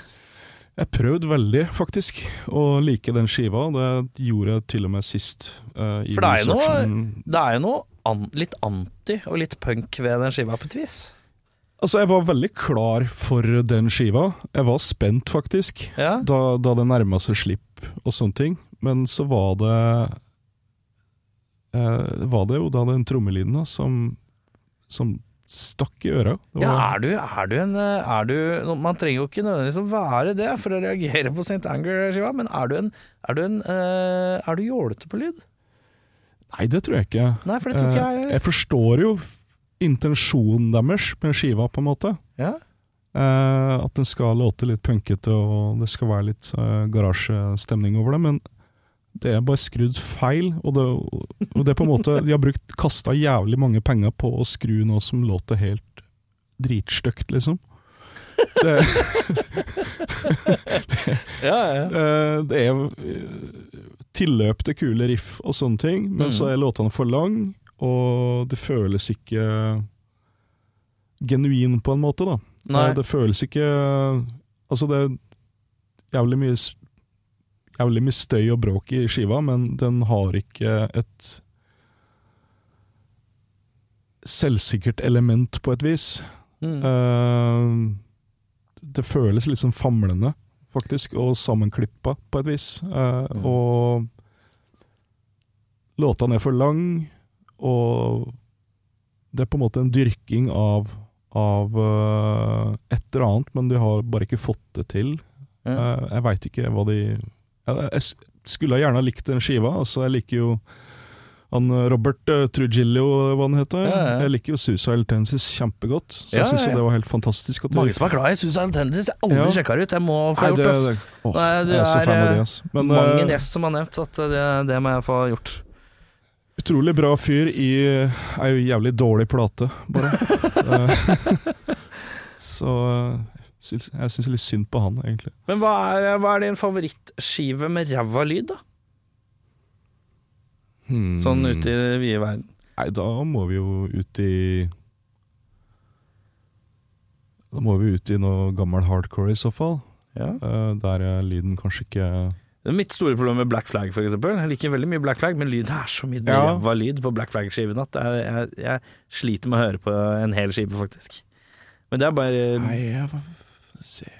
B: Jeg prøvde veldig, faktisk, å like den skiva. Det gjorde jeg til og med sist. eh, i
A: For det er jo noe-
B: researchen.
A: Det er jo noe an litt anti og litt punk ved den skiva, på et vis.
B: Altså, jeg var veldig klar for den skiva. Jeg var spent, faktisk,
A: Ja.
B: da, da det nærma seg slipp og sånne ting. Men så var det eh, Var det jo da den trommelyden da, som, som stakk i øra. Det
A: Ja,
B: var-
A: er du, er du en er du, nå- Man trenger jo ikke nødvendigvis å være det for å reagere på St. Anger-skiva, men er du en Er du en eh, Er du jålete på lyd?
B: Nei, det tror jeg ikke.
A: Nei, for det tror ikke
B: Eh,
A: jeg
B: Jeg forstår jo intensjonen deres med skiva, på en måte.
A: ja.
B: Eh, at den skal låte litt punkete, og det skal være litt eh, garasjestemning over det. Men det er bare skrudd feil, og det, og det er på en måte De har brukt kasta jævlig mange penger på å skru noe som låter helt dritstygt, liksom. Det,
A: Ja, ja.
B: Eh, Det er eh, tilløp til kule riff og sånne ting, men
A: Mm.
B: så er låtene for lang, og det føles ikke genuin på en måte, da.
A: Nei.
B: Eh, Det føles ikke Altså, det er jævlig mye s- Jævlig mye støy og bråk i skiva, men den har ikke et selvsikkert element, på et vis.
A: Mm.
B: Eh, det føles litt sånn famlende, faktisk, og sammenklippa på et vis. Eh,
A: Mm.
B: Og låtene er for lang, og det er på en måte en dyrking av, av eh, et eller annet, men de har bare ikke fått det til.
A: Ja.
B: Eh, jeg veit ikke hva de jeg, jeg s- skulle gjerne ha likt den skiva. Altså, jeg liker jo han eh, Robert eh, Trujillo, hva han heter.
A: Ja, ja.
B: Jeg liker jo Suicide Tendencies kjempegodt, så
A: Ja,
B: jeg syns
A: ja, ja.
B: det var helt fantastisk. At
A: Mange som er glad i Suicide Tendencies. Jeg har aldri
B: Ja.
A: sjekka det ut. Jeg må få
B: Nei,
A: gjort
B: det,
A: det. ass.
B: det, åh,
A: Nei, du
B: jeg er så
A: er,
B: fan av
A: eh,
B: det, ass. Men
A: Mang en
B: eh,
A: gjest som har nevnt at det, det må jeg få gjort.
B: utrolig bra fyr i eh, ei jævlig dårlig plate, bare. Eh, så eh, syns, jeg syns litt synd på han, egentlig.
A: Men hva er, hva er din favorittskive med ræva lyd, da? Sånn
B: Mm.
A: ute i den vide verden.
B: Nei, da må vi jo ut i Da må vi ut i noe gammel hardcore, i så fall.
A: Ja.
B: Eh, der er lyden kanskje ikke
A: Det er mitt store problem med Black Flag, for eksempel. Jeg liker veldig mye Black Flag, men lyden er så mye
B: Ja.
A: ræva lyd på Black Flag-skiven at jeg, jeg, jeg sliter med å høre på en hel skive, faktisk. Men det er bare
B: jeg får se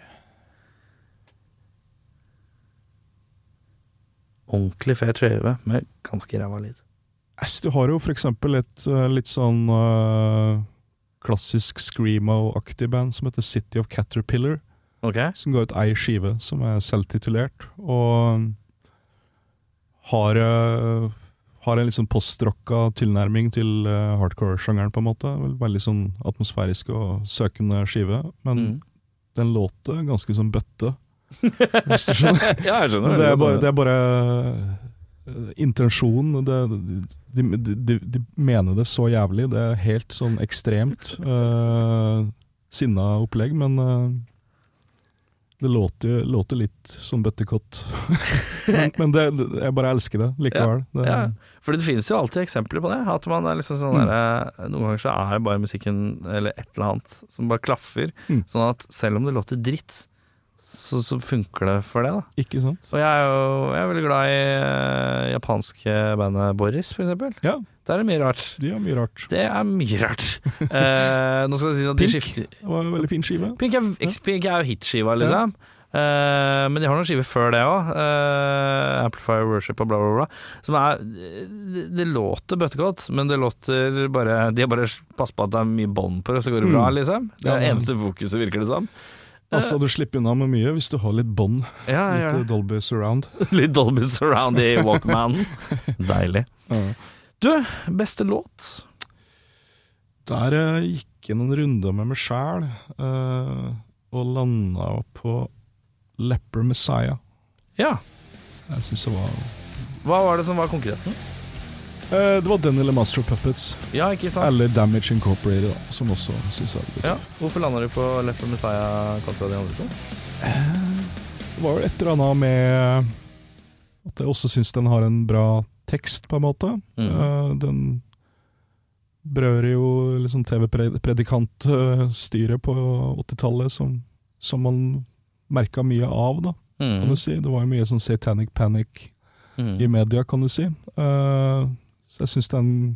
A: ordentlig fet skive med ganske ræva lyd.
B: Ass, du har jo for eksempel et eh, litt sånn eh, klassisk screamo-aktig band som heter City of Caterpillar,
A: Ok?
B: som ga ut ei skive som er selvtitulert, og har, eh, har en litt sånn postrocka tilnærming til eh, hardcore-sjangeren, på en måte. Vel, Veldig sånn atmosfærisk og søkende skive, men
A: Mm.
B: den låter ganske som bøtte, hvis du skjønner.
A: Ja, jeg skjønner.
B: Men det er bare,
A: skjønner.
B: det er bare eh, intensjonen. Det, de, de, de, de mener det så jævlig. Det er helt sånn ekstremt eh, sinna opplegg, men eh, det låter, låter litt som bøttekott. men men det, det- jeg bare elsker det likevel. Det,
A: Ja, for det finnes jo alltid eksempler på det. At man er liksom
B: Mm.
A: sånn der, eh, Noen ganger så er bare musikken eller et eller annet som bare klaffer.
B: Mm.
A: Sånn at selv om det låter dritt, så, så funker det for det, da.
B: Ikke sant?
A: Og jeg er jo jeg er veldig glad i eh, japanske bandet Boris, for eksempel.
B: Ja.
A: Der er det mye rart.
B: De har mye rart.
A: Det er mye rart. Eh, nå skal det sies at de
B: Pink.
A: skifter
B: Det var en veldig fin skive.
A: Pink er, Pink er jo hitskiva, liksom. Eh, men de har noen skiver før det òg. Amplify Worship og bla, bla, bla. Som er Det, det låter bøttegodt, men det låter bare De har bare passet på at det er mye bånd på det, så går det bra, liksom. Det
B: Ja,
A: er det
B: men-
A: eneste fokuset, virker det som.
B: Altså, du slipper unna med mye hvis du har litt bånd.
A: Ja, ja,
B: Litt eh,
A: ja.
B: Dolby surround.
A: eh, Litt Dolby Surround i Walkman. Deilig.
B: Ja.
A: Beste låt?
B: Der eh, gikk jeg noen runder med meg sjæl, eh, og landa på Leper Messiah.
A: Ja.
B: Jeg synes det var
A: Hva var det som var konkreten?
B: Eh, Det var den eller Master of Puppets,
A: Ja, ikke sant?
B: eller Damage Incorporated, da, som også syns jeg var litt
A: Ja.
B: tøff.
A: Hvorfor landa du på Leppe Messiah kontra de andre to?
B: Det var jo et eller annet med eh, at jeg også syns den har en bra tekst, på en måte.
A: Mm.
B: Eh, Den berører jo liksom TV-predikantstyret på 80-tallet, som, som man merka mye av, da.
A: Mm.
B: kan du si. Det var jo mye sånn satanic panic i media, kan du si. Eh, så jeg syns det er en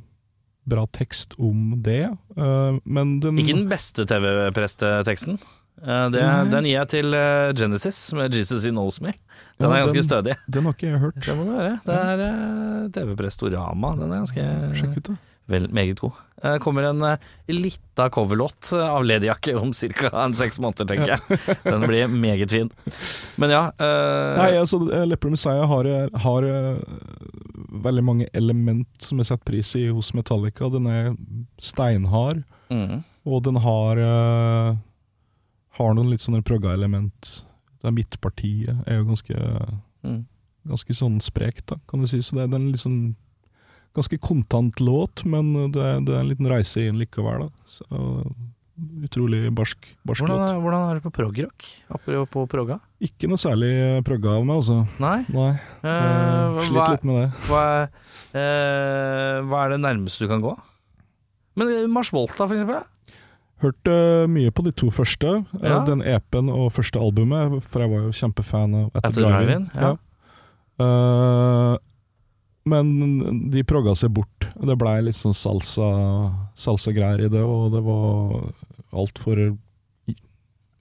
B: bra tekst om det. Eh, men den
A: Ikke den beste TV-presteteksten. Eh, Det,
B: Nei.
A: den gir jeg til eh, Genesis med 'Jesus He Knows Me'. Den
B: Ja,
A: er ganske
B: den-
A: stødig.
B: Den har ikke jeg hørt.
A: Det må du høre. Det er eh, TV-prestorama. Den er
B: Sjekk
A: ganske
B: ut det.
A: vel, meget god. Eh, kommer en eh, lita coverlåt eh, av Lady Jakke om ca. seks måneder, tenker jeg. Den blir meget fin. Men ja eh,
B: Nei, altså, eh, Leppelid Messiah har, har eh, veldig mange element som jeg setter pris i hos Metallica. Den er steinhard,
A: mm,
B: og den har eh, Har noen litt sånne progga-element. Det er midtpartiet er jo ganske
A: mm.
B: ganske sånn sprekt, da, kan du si. Så det er en liksom ganske kontant låt, men det er, det er en liten reise inn likevel. da. Så utrolig barsk, barsk låt.
A: Hvordan, hvordan er det på progrock? Apropos progga?
B: Ikke noe særlig eh, progga av meg, altså.
A: Nei?
B: Nei,
A: Eh,
B: jeg
A: hva,
B: sliter litt med det.
A: hva, eh, hva er det nærmeste du kan gå? Men eh, Mars Volta, for eksempel? da?
B: Hørte eh, mye på de to første. eh,
A: Ja.
B: Den EP-en og første albumet, for jeg var jo kjempefan av At
A: Etter
B: the Drive-In.
A: Drive-In, ja.
B: Eh, men de progga seg bort. Det blei litt sånn salsa, salsa-greier i det, og det var altfor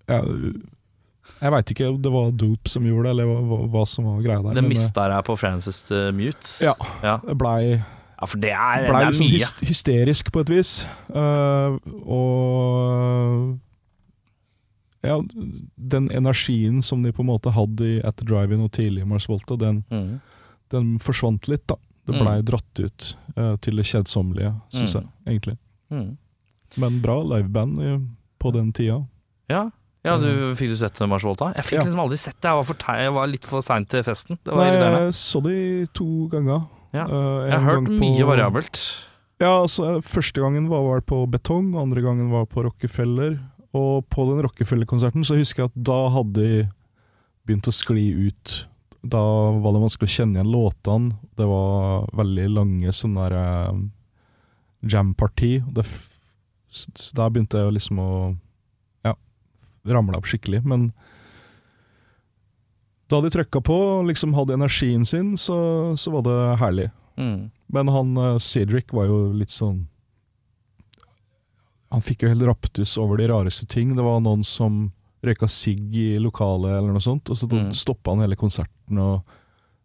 B: Jeg, jeg veit ikke om det var Doop som gjorde det, eller hva, hva- hva som var greia der.
A: Den
B: men det-
A: mista deg på Frances eh, Mute.
B: Ja.
A: ja.
B: det blei
A: Ja, for det er, det
B: blei
A: er
B: liksom
A: mye.
B: hys- hysterisk på et vis. Eh, og eh, ja, den energien som de på en måte hadde i At the Drive-In og tidlig i Mars Volta, den,
A: Mm.
B: den forsvant litt, da. Det blei
A: Mm.
B: dratt ut eh, til det kjedsommelige, syns
A: Mm.
B: jeg, egentlig.
A: Mm.
B: Men bra liveband i, på den tida.
A: Ja. ja, du fikk du sett Mars Volta? Jeg fikk
B: Mm. Ja.
A: liksom aldri sett det, jeg var, for tei- jeg var litt for sein til festen. Det var
B: Nei,
A: irriterende.
B: jeg så de to ganger.
A: Ja.
B: Eh,
A: Jeg
B: en
A: har hørt
B: gang på-
A: mye variabelt.
B: Ja, altså Første gangen var var på Betong, andre gangen var på Rockefeller. Og på den Rockefeller-konserten så husker jeg at da hadde de begynt å skli ut. Da var det vanskelig å kjenne igjen låtene. Det var veldig lange sånne der eh, jam-parti. og det f- Så så der begynte jeg liksom å ja, ramle av skikkelig. Men da de trykka på og liksom hadde energien sin, så, så var det herlig.
A: Mm.
B: Men han eh, Cedric var jo litt sånn Han fikk jo helt raptus over de rareste ting. Det var noen som røyka sigg i lokalet eller noe sånt, og så
A: Mm.
B: mm. stoppa han hele konserten og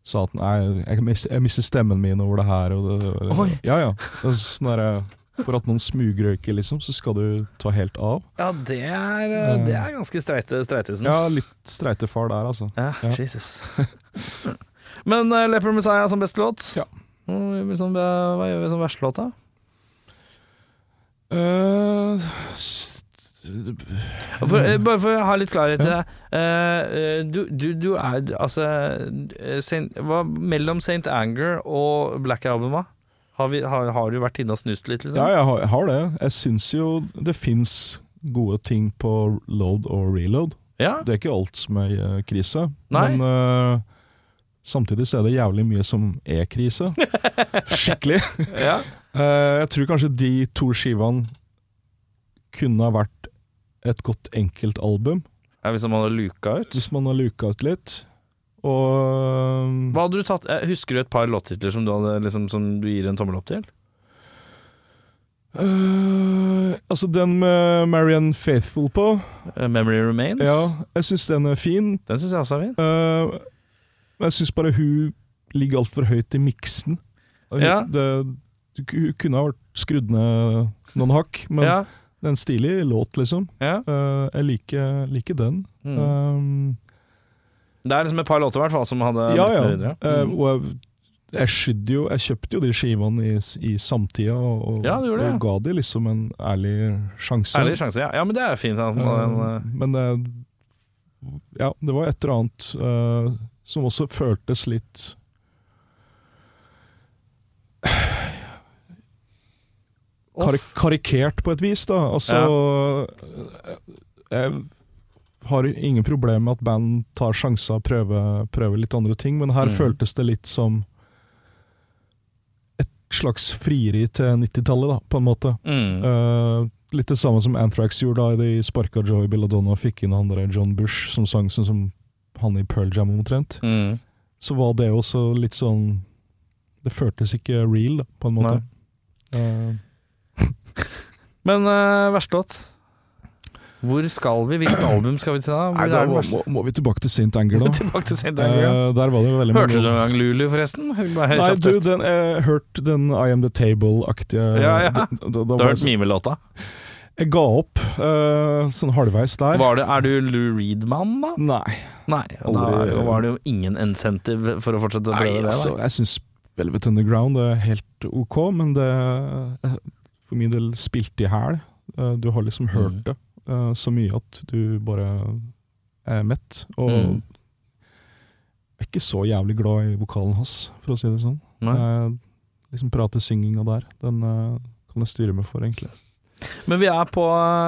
B: sa at nei, jeg mister, jeg mister stemmen min over det her. Og det,
A: Oi.
B: Ja, ja. Det er sånn der, for at noen smugrøyker, liksom, så skal du ta helt av.
A: Ja, det er,
B: Eh.
A: det er ganske streite streitesen.
B: Ja, litt streite far der, altså.
A: Ja,
B: Ja.
A: Jesus. Men uh, Leopard Messiah som beste låt?
B: Ja.
A: Mm, liksom, eh, hva gjør vi som verste låt, da?
B: Eh, s-
A: For,
B: Mm.
A: eh, bare for å ha litt klarhet i det. Eh, eh, du, du, du er du- Altså eh, Saint, hva, Mellom St. Anger og Black Album, hva? Har, vi, har, har du vært inne og snust litt, liksom?
B: ja, jeg har, jeg har det. Jeg syns jo det fins gode ting på load og reload.
A: Ja?
B: Det er ikke alt som er eh, krise,
A: Nei.
B: men eh, samtidig så er det jævlig mye som er krise. Skikkelig.
A: ja.
B: Eh, jeg tror kanskje de to skivene kunne ha vært et godt enkeltalbum,
A: Ja, Hvis man hadde luka ut?
B: hvis man har luka ut litt. Og
A: Hva hadde du tatt, eh, husker du et par låttitler som du, hadde, liksom, som du gir en tommel opp til?
B: Eh, Altså, den med Marianne Faithful på,
A: Eh, 'Memory Remains'?
B: ja, jeg syns den er fin.
A: Den syns jeg også er fin.
B: Eh, Men jeg syns bare hun ligger altfor høyt i miksen. Og hun-
A: Ja.
B: Det, hun kunne ha vært skrudd ned noen hakk, men
A: ja.
B: det er en stilig låt, liksom.
A: ja.
B: Eh, jeg liker, liker den.
A: Mm.
B: Um,
A: Det er liksom et par låter i hvert fall som hadde
B: ja, ja.
A: vært med videre.
B: Eh,
A: Mm.
B: og jeg, jeg skydde jo Jeg kjøpte jo de skivene i, i samtida, og, og,
A: Ja, du gjorde det,
B: og ga de liksom en ærlig sjanse.
A: Ærlig sjanse, ja. ja. Men det er fint. At man,
B: Eh, Men det Ja, det var et eller annet eh, som også føltes litt
A: Off.
B: Kari Karikert på et vis, da. Altså eh, Jeg har ingen problemer med at band tar sjanser og prøver, prøver litt andre ting, men her
A: Mhm.
B: føltes det litt som et slags frieri til 90-tallet, da, på en måte.
A: mm.
B: Eh, litt det samme som Anthrax gjorde da de sparka Joey Belladonna og fikk inn han der John Bush som sang sånn som han i Pearl Jam omtrent.
A: Mm.
B: Så var det også litt sånn Det føltes ikke real, da, på en måte. Eh,
A: Men uh, verste låt? Hvor skal vi? Hvilket album skal vi til da? Hvor
B: nei,
A: er
B: da
A: den
B: må,
A: verste?
B: må, må vi tilbake til St. Anger, da.
A: Tilbake til St. Anger.
B: Eh, der var det jo veldig
A: Hørte du en gang Lulu, forresten? Bare
B: Nei,
A: kjapt
B: du,
A: test.
B: den, jeg hørte den I Am The Table-aktige
A: Ja, ja.
B: da- da- da
A: du
B: var
A: har
B: jeg
A: hørt
B: så-
A: mimelåta.
B: Jeg ga opp eh, sånn halvveis der.
A: Var det, er du Lou Reed-mann, da?
B: Nei,
A: Nei, da
B: Aldri-
A: er det jo- var det jo ingen incentive for å fortsette å prøve
B: Nei,
A: det.
B: altså,
A: da.
B: jeg syns Velvet Underground er helt ok, men det er for min del spilt i hæl. Eh, Du har liksom hørt
A: Mm.
B: det eh, så mye at du bare er mett. Og
A: Mm.
B: jeg er ikke så jævlig glad i vokalen hans, for å si det sånn.
A: Nei.
B: Eh, liksom Prate-synginga der, den eh, kan jeg styre meg for, egentlig.
A: Men vi er på,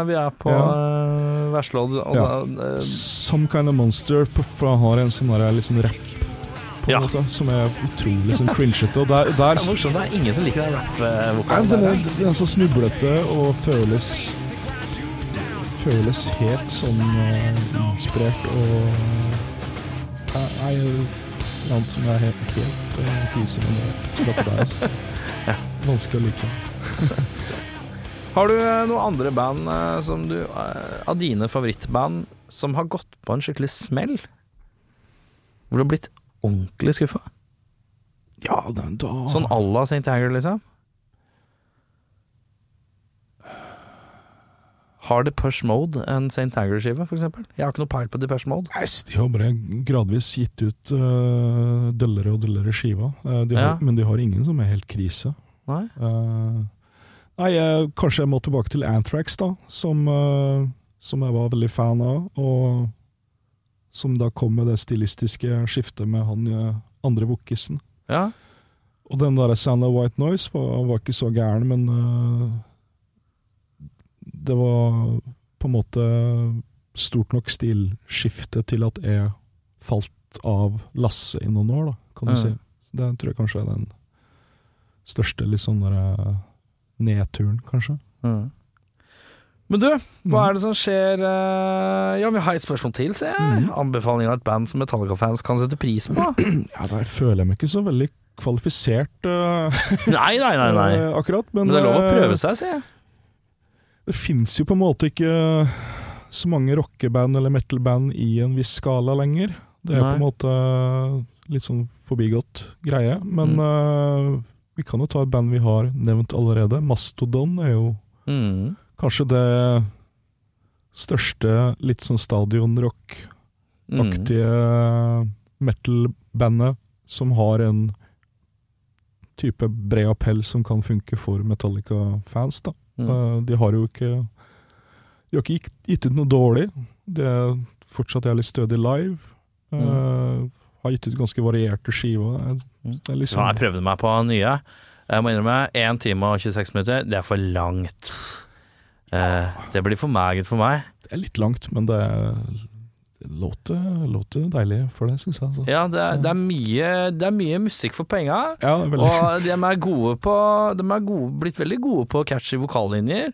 A: vi er på
B: Ja.
A: eh, Verslådd. og
B: Ja.
A: da, eh,
B: Some Kind of Monster på- for han har en sånn der liksom rapp på en
A: Ja.
B: måte, som er utrolig sånn cringete. Og der, der
A: det er morsomt, det er ingen som liker den eh,
B: Nei,
A: rap-vokalen.
B: den, er, den er så snublete og føles Føles helt sånn eh, inspirert og eh, Nei, nei, noe annet som er helt, helt uh, fise med det dette der. Altså. Vanskelig å like.
A: Har du eh, noen andre band eh, som du eh, Av dine favorittband som har gått på en skikkelig smell? Hvor du har blitt ordentlig skuffa?
B: Ja, den da
A: Sånn à la St. Hanger, liksom? Har Depeche Mode en St. Hanger-skive, for eksempel? Jeg har ikke noe peil på Depeche Mode.
B: Nei, så de har bare gradvis gitt ut uh, døllere og døllere skiva, Eh, de
A: Ja.
B: har, men de har ingen som er helt krise.
A: Nei?
B: Eh, nei, jeg, kanskje jeg må tilbake til Anthrax, da, som, eh, som jeg var veldig fan av. Og som da kom med det stilistiske skiftet med han eh, andre vokkisen.
A: Ja?
B: Og den der Sound of White Noise var, var ikke så gæren, men eh, det var på en måte stort nok stilskifte til at jeg falt av lasset i noen år, da, kan du
A: Mm.
B: si. Det tror jeg kanskje er den største litt sånn der, eh, nedturen, kanskje.
A: Mm. Men du, hva er det som skjer eh, Ja, vi har et spørsmål til, ser jeg. Anbefaling av et band som Metallica-fans kan sette pris på?
B: Ja, Der føler jeg meg ikke så veldig kvalifisert eh,
A: nei, nei, nei. nei.
B: eh, akkurat, men,
A: Men det er lov å
B: eh,
A: prøve seg, sier jeg.
B: Det fins jo på en måte ikke så mange rockeband eller metalband i en viss skala lenger. Det er på
A: Nei.
B: en måte litt sånn forbigått greie. Men
A: Mm.
B: eh, vi kan jo ta et band vi har nevnt allerede. Mastodon er jo
A: Mm.
B: kanskje det største litt sånn stadionrock-aktige
A: Mm.
B: metal-bandet som har en type bred appell som kan funke for Metallica-fans, da.
A: Mm.
B: Eh, De har jo ikke De har ikke gitt- gitt ut noe dårlig. Det er fortsatt jævlig stødig live.
A: Mm.
B: Eh, Har gitt ut ganske varierte skiver.
A: Mm.
B: Det er- Det
A: Ja,
B: er
A: jeg
B: liksom
A: prøvde meg på nye. Jeg må innrømme, 1 time og 26 minutter, det er for langt. Eh, det blir for magert for meg.
B: Det er litt langt, men det er det låter, låter deilig for det, syns jeg. Altså.
A: Ja, det er, det er, mye, det er mye musikk for penga.
B: Ja, det er veldig
A: Og de er gode på De er gode, blitt veldig gode på catchy vokallinjer.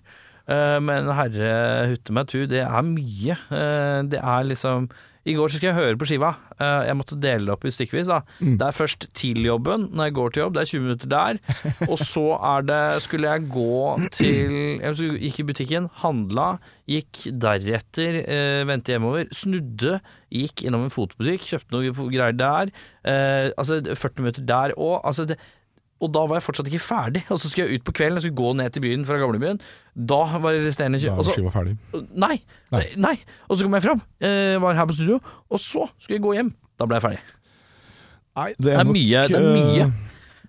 A: Eh, men herre hutte meg tu, det er mye. Eh, det er liksom I går så skulle jeg høre på skiva. Eh, jeg måtte dele det opp i stykkevis. da Det er først til jobben, når jeg går til jobb. Det er 20 minutter der. Og så er det Skulle jeg gå til Jeg skulle- gikk i butikken, handla, gikk deretter, eh, vendte hjemover, snudde, gikk innom en fotbutikk, kjøpte noe greier der. Eh, altså 40 minutter der òg. Altså, det, og da var jeg fortsatt ikke ferdig. Og så skulle jeg ut på kvelden, jeg skulle gå ned til byen fra gamlebyen. Da var det resterende
B: Da
A: tjue-
B: er
A: og så-
B: skiva ferdig.
A: Nei, nei.
B: Nei.
A: Og så kom jeg fram, eh, var her på studio, og så skulle jeg gå hjem. Da ble jeg ferdig.
B: Nei,
A: Det er mye. Det er
B: eh,
A: mye.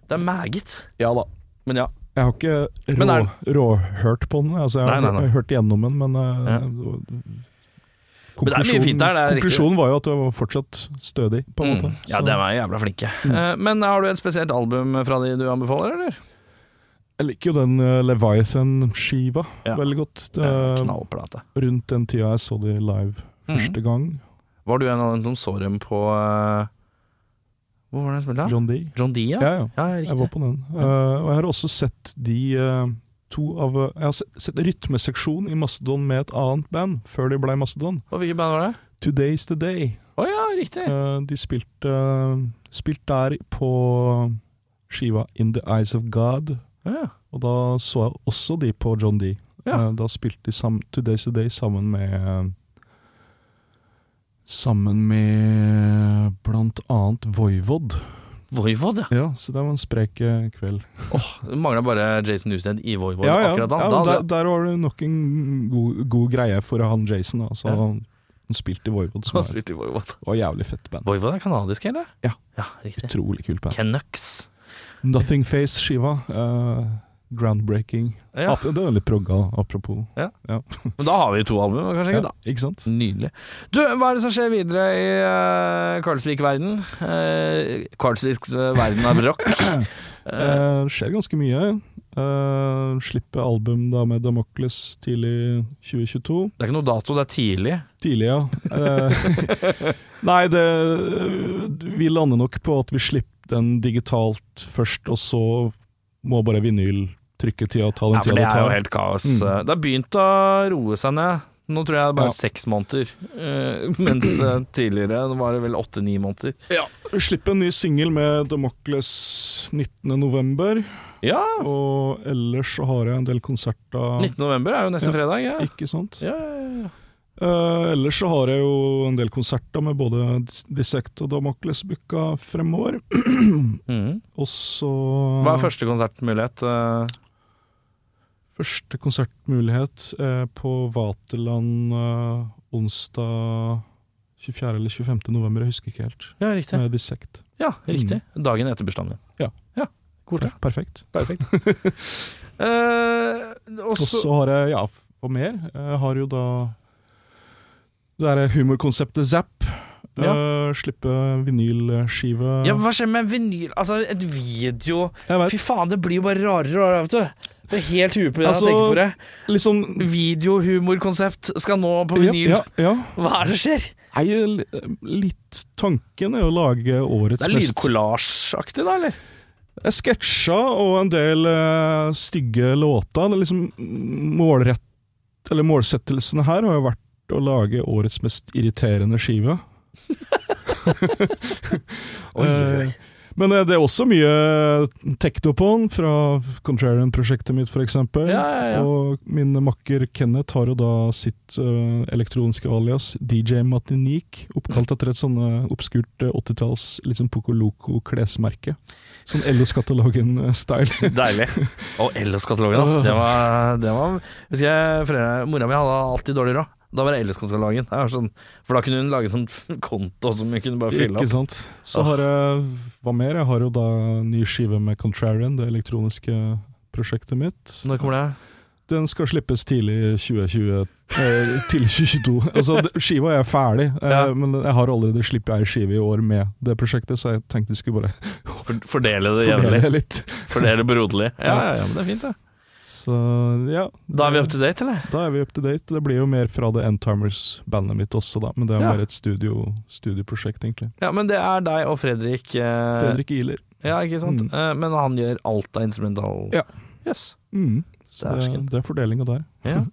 A: Det er meget.
B: Ja da.
A: Men ja.
B: Jeg har ikke
A: Men
B: rå,
A: er
B: råhørt på den. Altså, jeg har
A: Nei, nei, nei.
B: hørt igjennom den, men eh,
A: Ja. det er mye
B: konklusjonen-
A: fint der, det er riktig.
B: Konklusjonen var jo at det var fortsatt stødig, på en måte.
A: Mm. Ja,
B: Så- Mm.
A: de er jævla flinke. Eh, men har du et spesielt album fra de du anbefaler, eller?
B: Jeg liker jo den eh, Leviathan-skiva
A: Ja.
B: veldig godt. Det,
A: Ja, Knallplate.
B: rundt den tida jeg så de live
A: Mm.
B: første gang.
A: Var du en av dem som så dem på eh, Hvor var det de spilte? da?
B: John D.
A: John Dia?
B: Ja, ja.
A: ja
B: Jeg var
A: riktig.
B: på den. Eh, og jeg har også sett de eh, to av eh, Jeg har se- sett rytmeseksjon i Mastodon med et annet band, før de ble Mastodon.
A: Og hvilket band var det?
B: Today's The Day.
A: Å ja, riktig.
B: Eh, de spilte eh, spilt der på skiva In The Eyes of God.
A: Ja.
B: Og da så jeg også de på John D.
A: Ja.
B: Eh, Da spilte de sam Today's The Day sammen med Sammen med blant annet Voivod.
A: Voivod, ja.
B: Ja, så det var en sprek eh, kveld.
A: Det mangla bare Jason Newsted i Voivod
B: ja, ja.
A: akkurat da.
B: ja
A: da
B: men der, der var det nok en god, god greie for han Jason. da. Så
A: Ja.
B: han, han spilte i Voivod, som
A: han
B: er,
A: spilte i Voivod.
B: var et jævlig fett band.
A: Voivod er kanadisk, eller?
B: Ja.
A: ja riktig.
B: Utrolig kult band.
A: Canucks.
B: Nothing Face-skiva. eh, groundbreaking.
A: Ja.
B: Ap- Det er litt progga, da, apropos.
A: Men da har vi jo to album, kanskje? ikke
B: Ja,
A: da?
B: ikke sant?
A: Nydelig. Du, hva er det som skjer videre i Eh, uh, Karlsvik-verden? Uh, Karlsviks eh, verden av rock.
B: Eh, Det skjer ganske mye. Eh, slipper album da med Damocles tidlig 2022.
A: Det er ikke noe dato, det er tidlig.
B: Tidlig, ja. Eh, nei, det Vi lander nok på at vi slipper den digitalt først, og så må bare vinyl trykke tida og ta den
A: Ja, for det
B: tida det
A: er jo
B: tar.
A: helt kaos. Eh,
B: Mm.
A: Det har begynt å roe seg ned. Nå tror jeg det er bare
B: Ja.
A: seks måneder, eh, mens eh, tidligere var det vel åtte-ni måneder.
B: Vi slipper en ny singel med Damocles 19.11.,
A: Ja,
B: og ellers så har jeg en del konserter,
A: 19. november er jo neste
B: Ja.
A: fredag. Ja.
B: ikke sant?
A: Ja, ja, ja.
B: Eh, ellers så har jeg jo en del konserter med både Dis- Dissect og Damocles booka fremover.
A: Mhm.
B: Og så
A: Hva er første konsertmulighet? eh?
B: Første konsertmulighet er på Vaterland eh, onsdag 24. eller 25. november, jeg husker ikke helt.
A: Ja, riktig.
B: Med Dissect.
A: Ja, riktig. Dagen etter bursdagen din.
B: Mm. Ja.
A: ja. Kort, ja.
B: Per- Perfekt.
A: Perfekt. Eh,
B: Og
A: også,
B: så har jeg, ja, hva mer? Jeg har jo da det derre humorkonseptet Zapp. Eh, slippe vinylskive.
A: ja, hva skjer med vinyl? Altså, et video
B: jeg
A: Fy
B: vet,
A: faen, det blir jo bare rarere og rarere, vet du. Det er helt huet på det
B: Altså,
A: jeg tenker på det.
B: liksom
A: Videohumorkonsept skal nå på vinyl.
B: Ja, ja, ja.
A: Hva er det som skjer?
B: Nei, l- litt Tanken er å lage årets
A: Det er
B: mest
A: lydkollasjeaktig, da, eller?
B: Sketsja og en del eh, stygge låter. Det er liksom målrett, eller målsettelsen her har jo vært å lage årets mest irriterende skive. Eh, Men eh, det er også mye Teknopon fra Contrarian-prosjektet mitt, f.eks.
A: Ja, ja, ja.
B: Og min makker Kenneth har jo da sitt eh, elektroniske alias DJ Matinique, oppkalt etter et sånn eh, obskurt eh, 80-talls liksom Poco Loco-klesmerke. Sånn LO-skatalogen-style.
A: Deilig. Og LS-katalogen, altså. Det var, det var Husker jeg foreldre, Mora mi hadde alltid dårlig råd. Da var det LS-katalogen. Det var Sånn, for da kunne hun lage sånn konto som hun kunne bare fylle
B: Ikke
A: opp.
B: sant? Så
A: Ah.
B: har jeg Hva mer? Jeg har jo da ny skive med Contrarian, det elektroniske prosjektet mitt.
A: Når kommer det?
B: Den skal slippes tidlig i 2020 eh, Til 2022 altså, d- Skiva er ferdig eh,
A: Ja.
B: Men jeg har allerede slippet ei skive i år med det prosjektet Så jeg tenkte jeg skulle bare
A: For- Fordele det
B: fordele
A: jevnlig.
B: det litt
A: Fordele broderlig. Ja, ja, ja, men det er fint, det.
B: Så ja
A: Da er vi up to date, eller?
B: Da er vi up to date Det blir jo mer fra The Endtimers bandet mitt også da Men det er
A: Ja.
B: mer et studio, studioprosjekt egentlig
A: Ja, men det er deg og Fredrik. eh,
B: Fredrik Ihler
A: Ja, ikke sant?
B: Mm.
A: Eh, men han gjør alt av instrumental
B: Ja.
A: Yes.
B: mm. Så det,
A: Dæsken.
B: det er fordelingen der
A: Ja.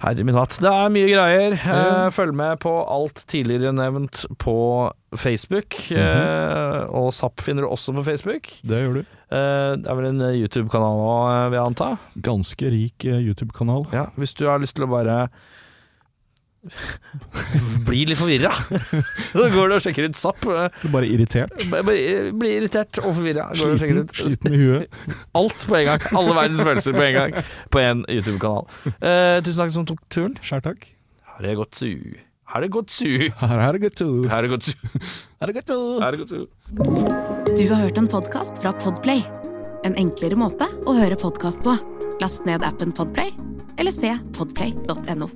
A: Herre min hatt. Det er mye greier.
B: Ja.
A: Eh, følg med på alt tidligere nevnt på Facebook.
B: Mhm.
A: eh, og Zapp finner du også på Facebook.
B: Det gjør du
A: Eh, det er vel en eh, YouTube-kanal òg, vil jeg anta.
B: Ganske rik eh, YouTube-kanal
A: Ja, hvis du har lyst til å bare bli litt forvirra, så går du og sjekker ut Zapp. Eh,
B: Bare irritert
A: bare- bare Bli irritert og forvirra. Går du og sjekker
B: Sliten,
A: ut
B: sliten i huet
A: Alt på en gang. Alle verdens følelser på en gang. På én YouTube-kanal. Eh, tusen takk som tok turen.
B: Skjær takk
A: Her er det godt su. Her er det godt su.
B: Her er det godt to
A: Her er det godt su. Her er det godt su.
C: Du har hørt en podkast fra Podplay. En enklere måte å høre podkast på. Last ned appen Podplay, eller se podplay.no.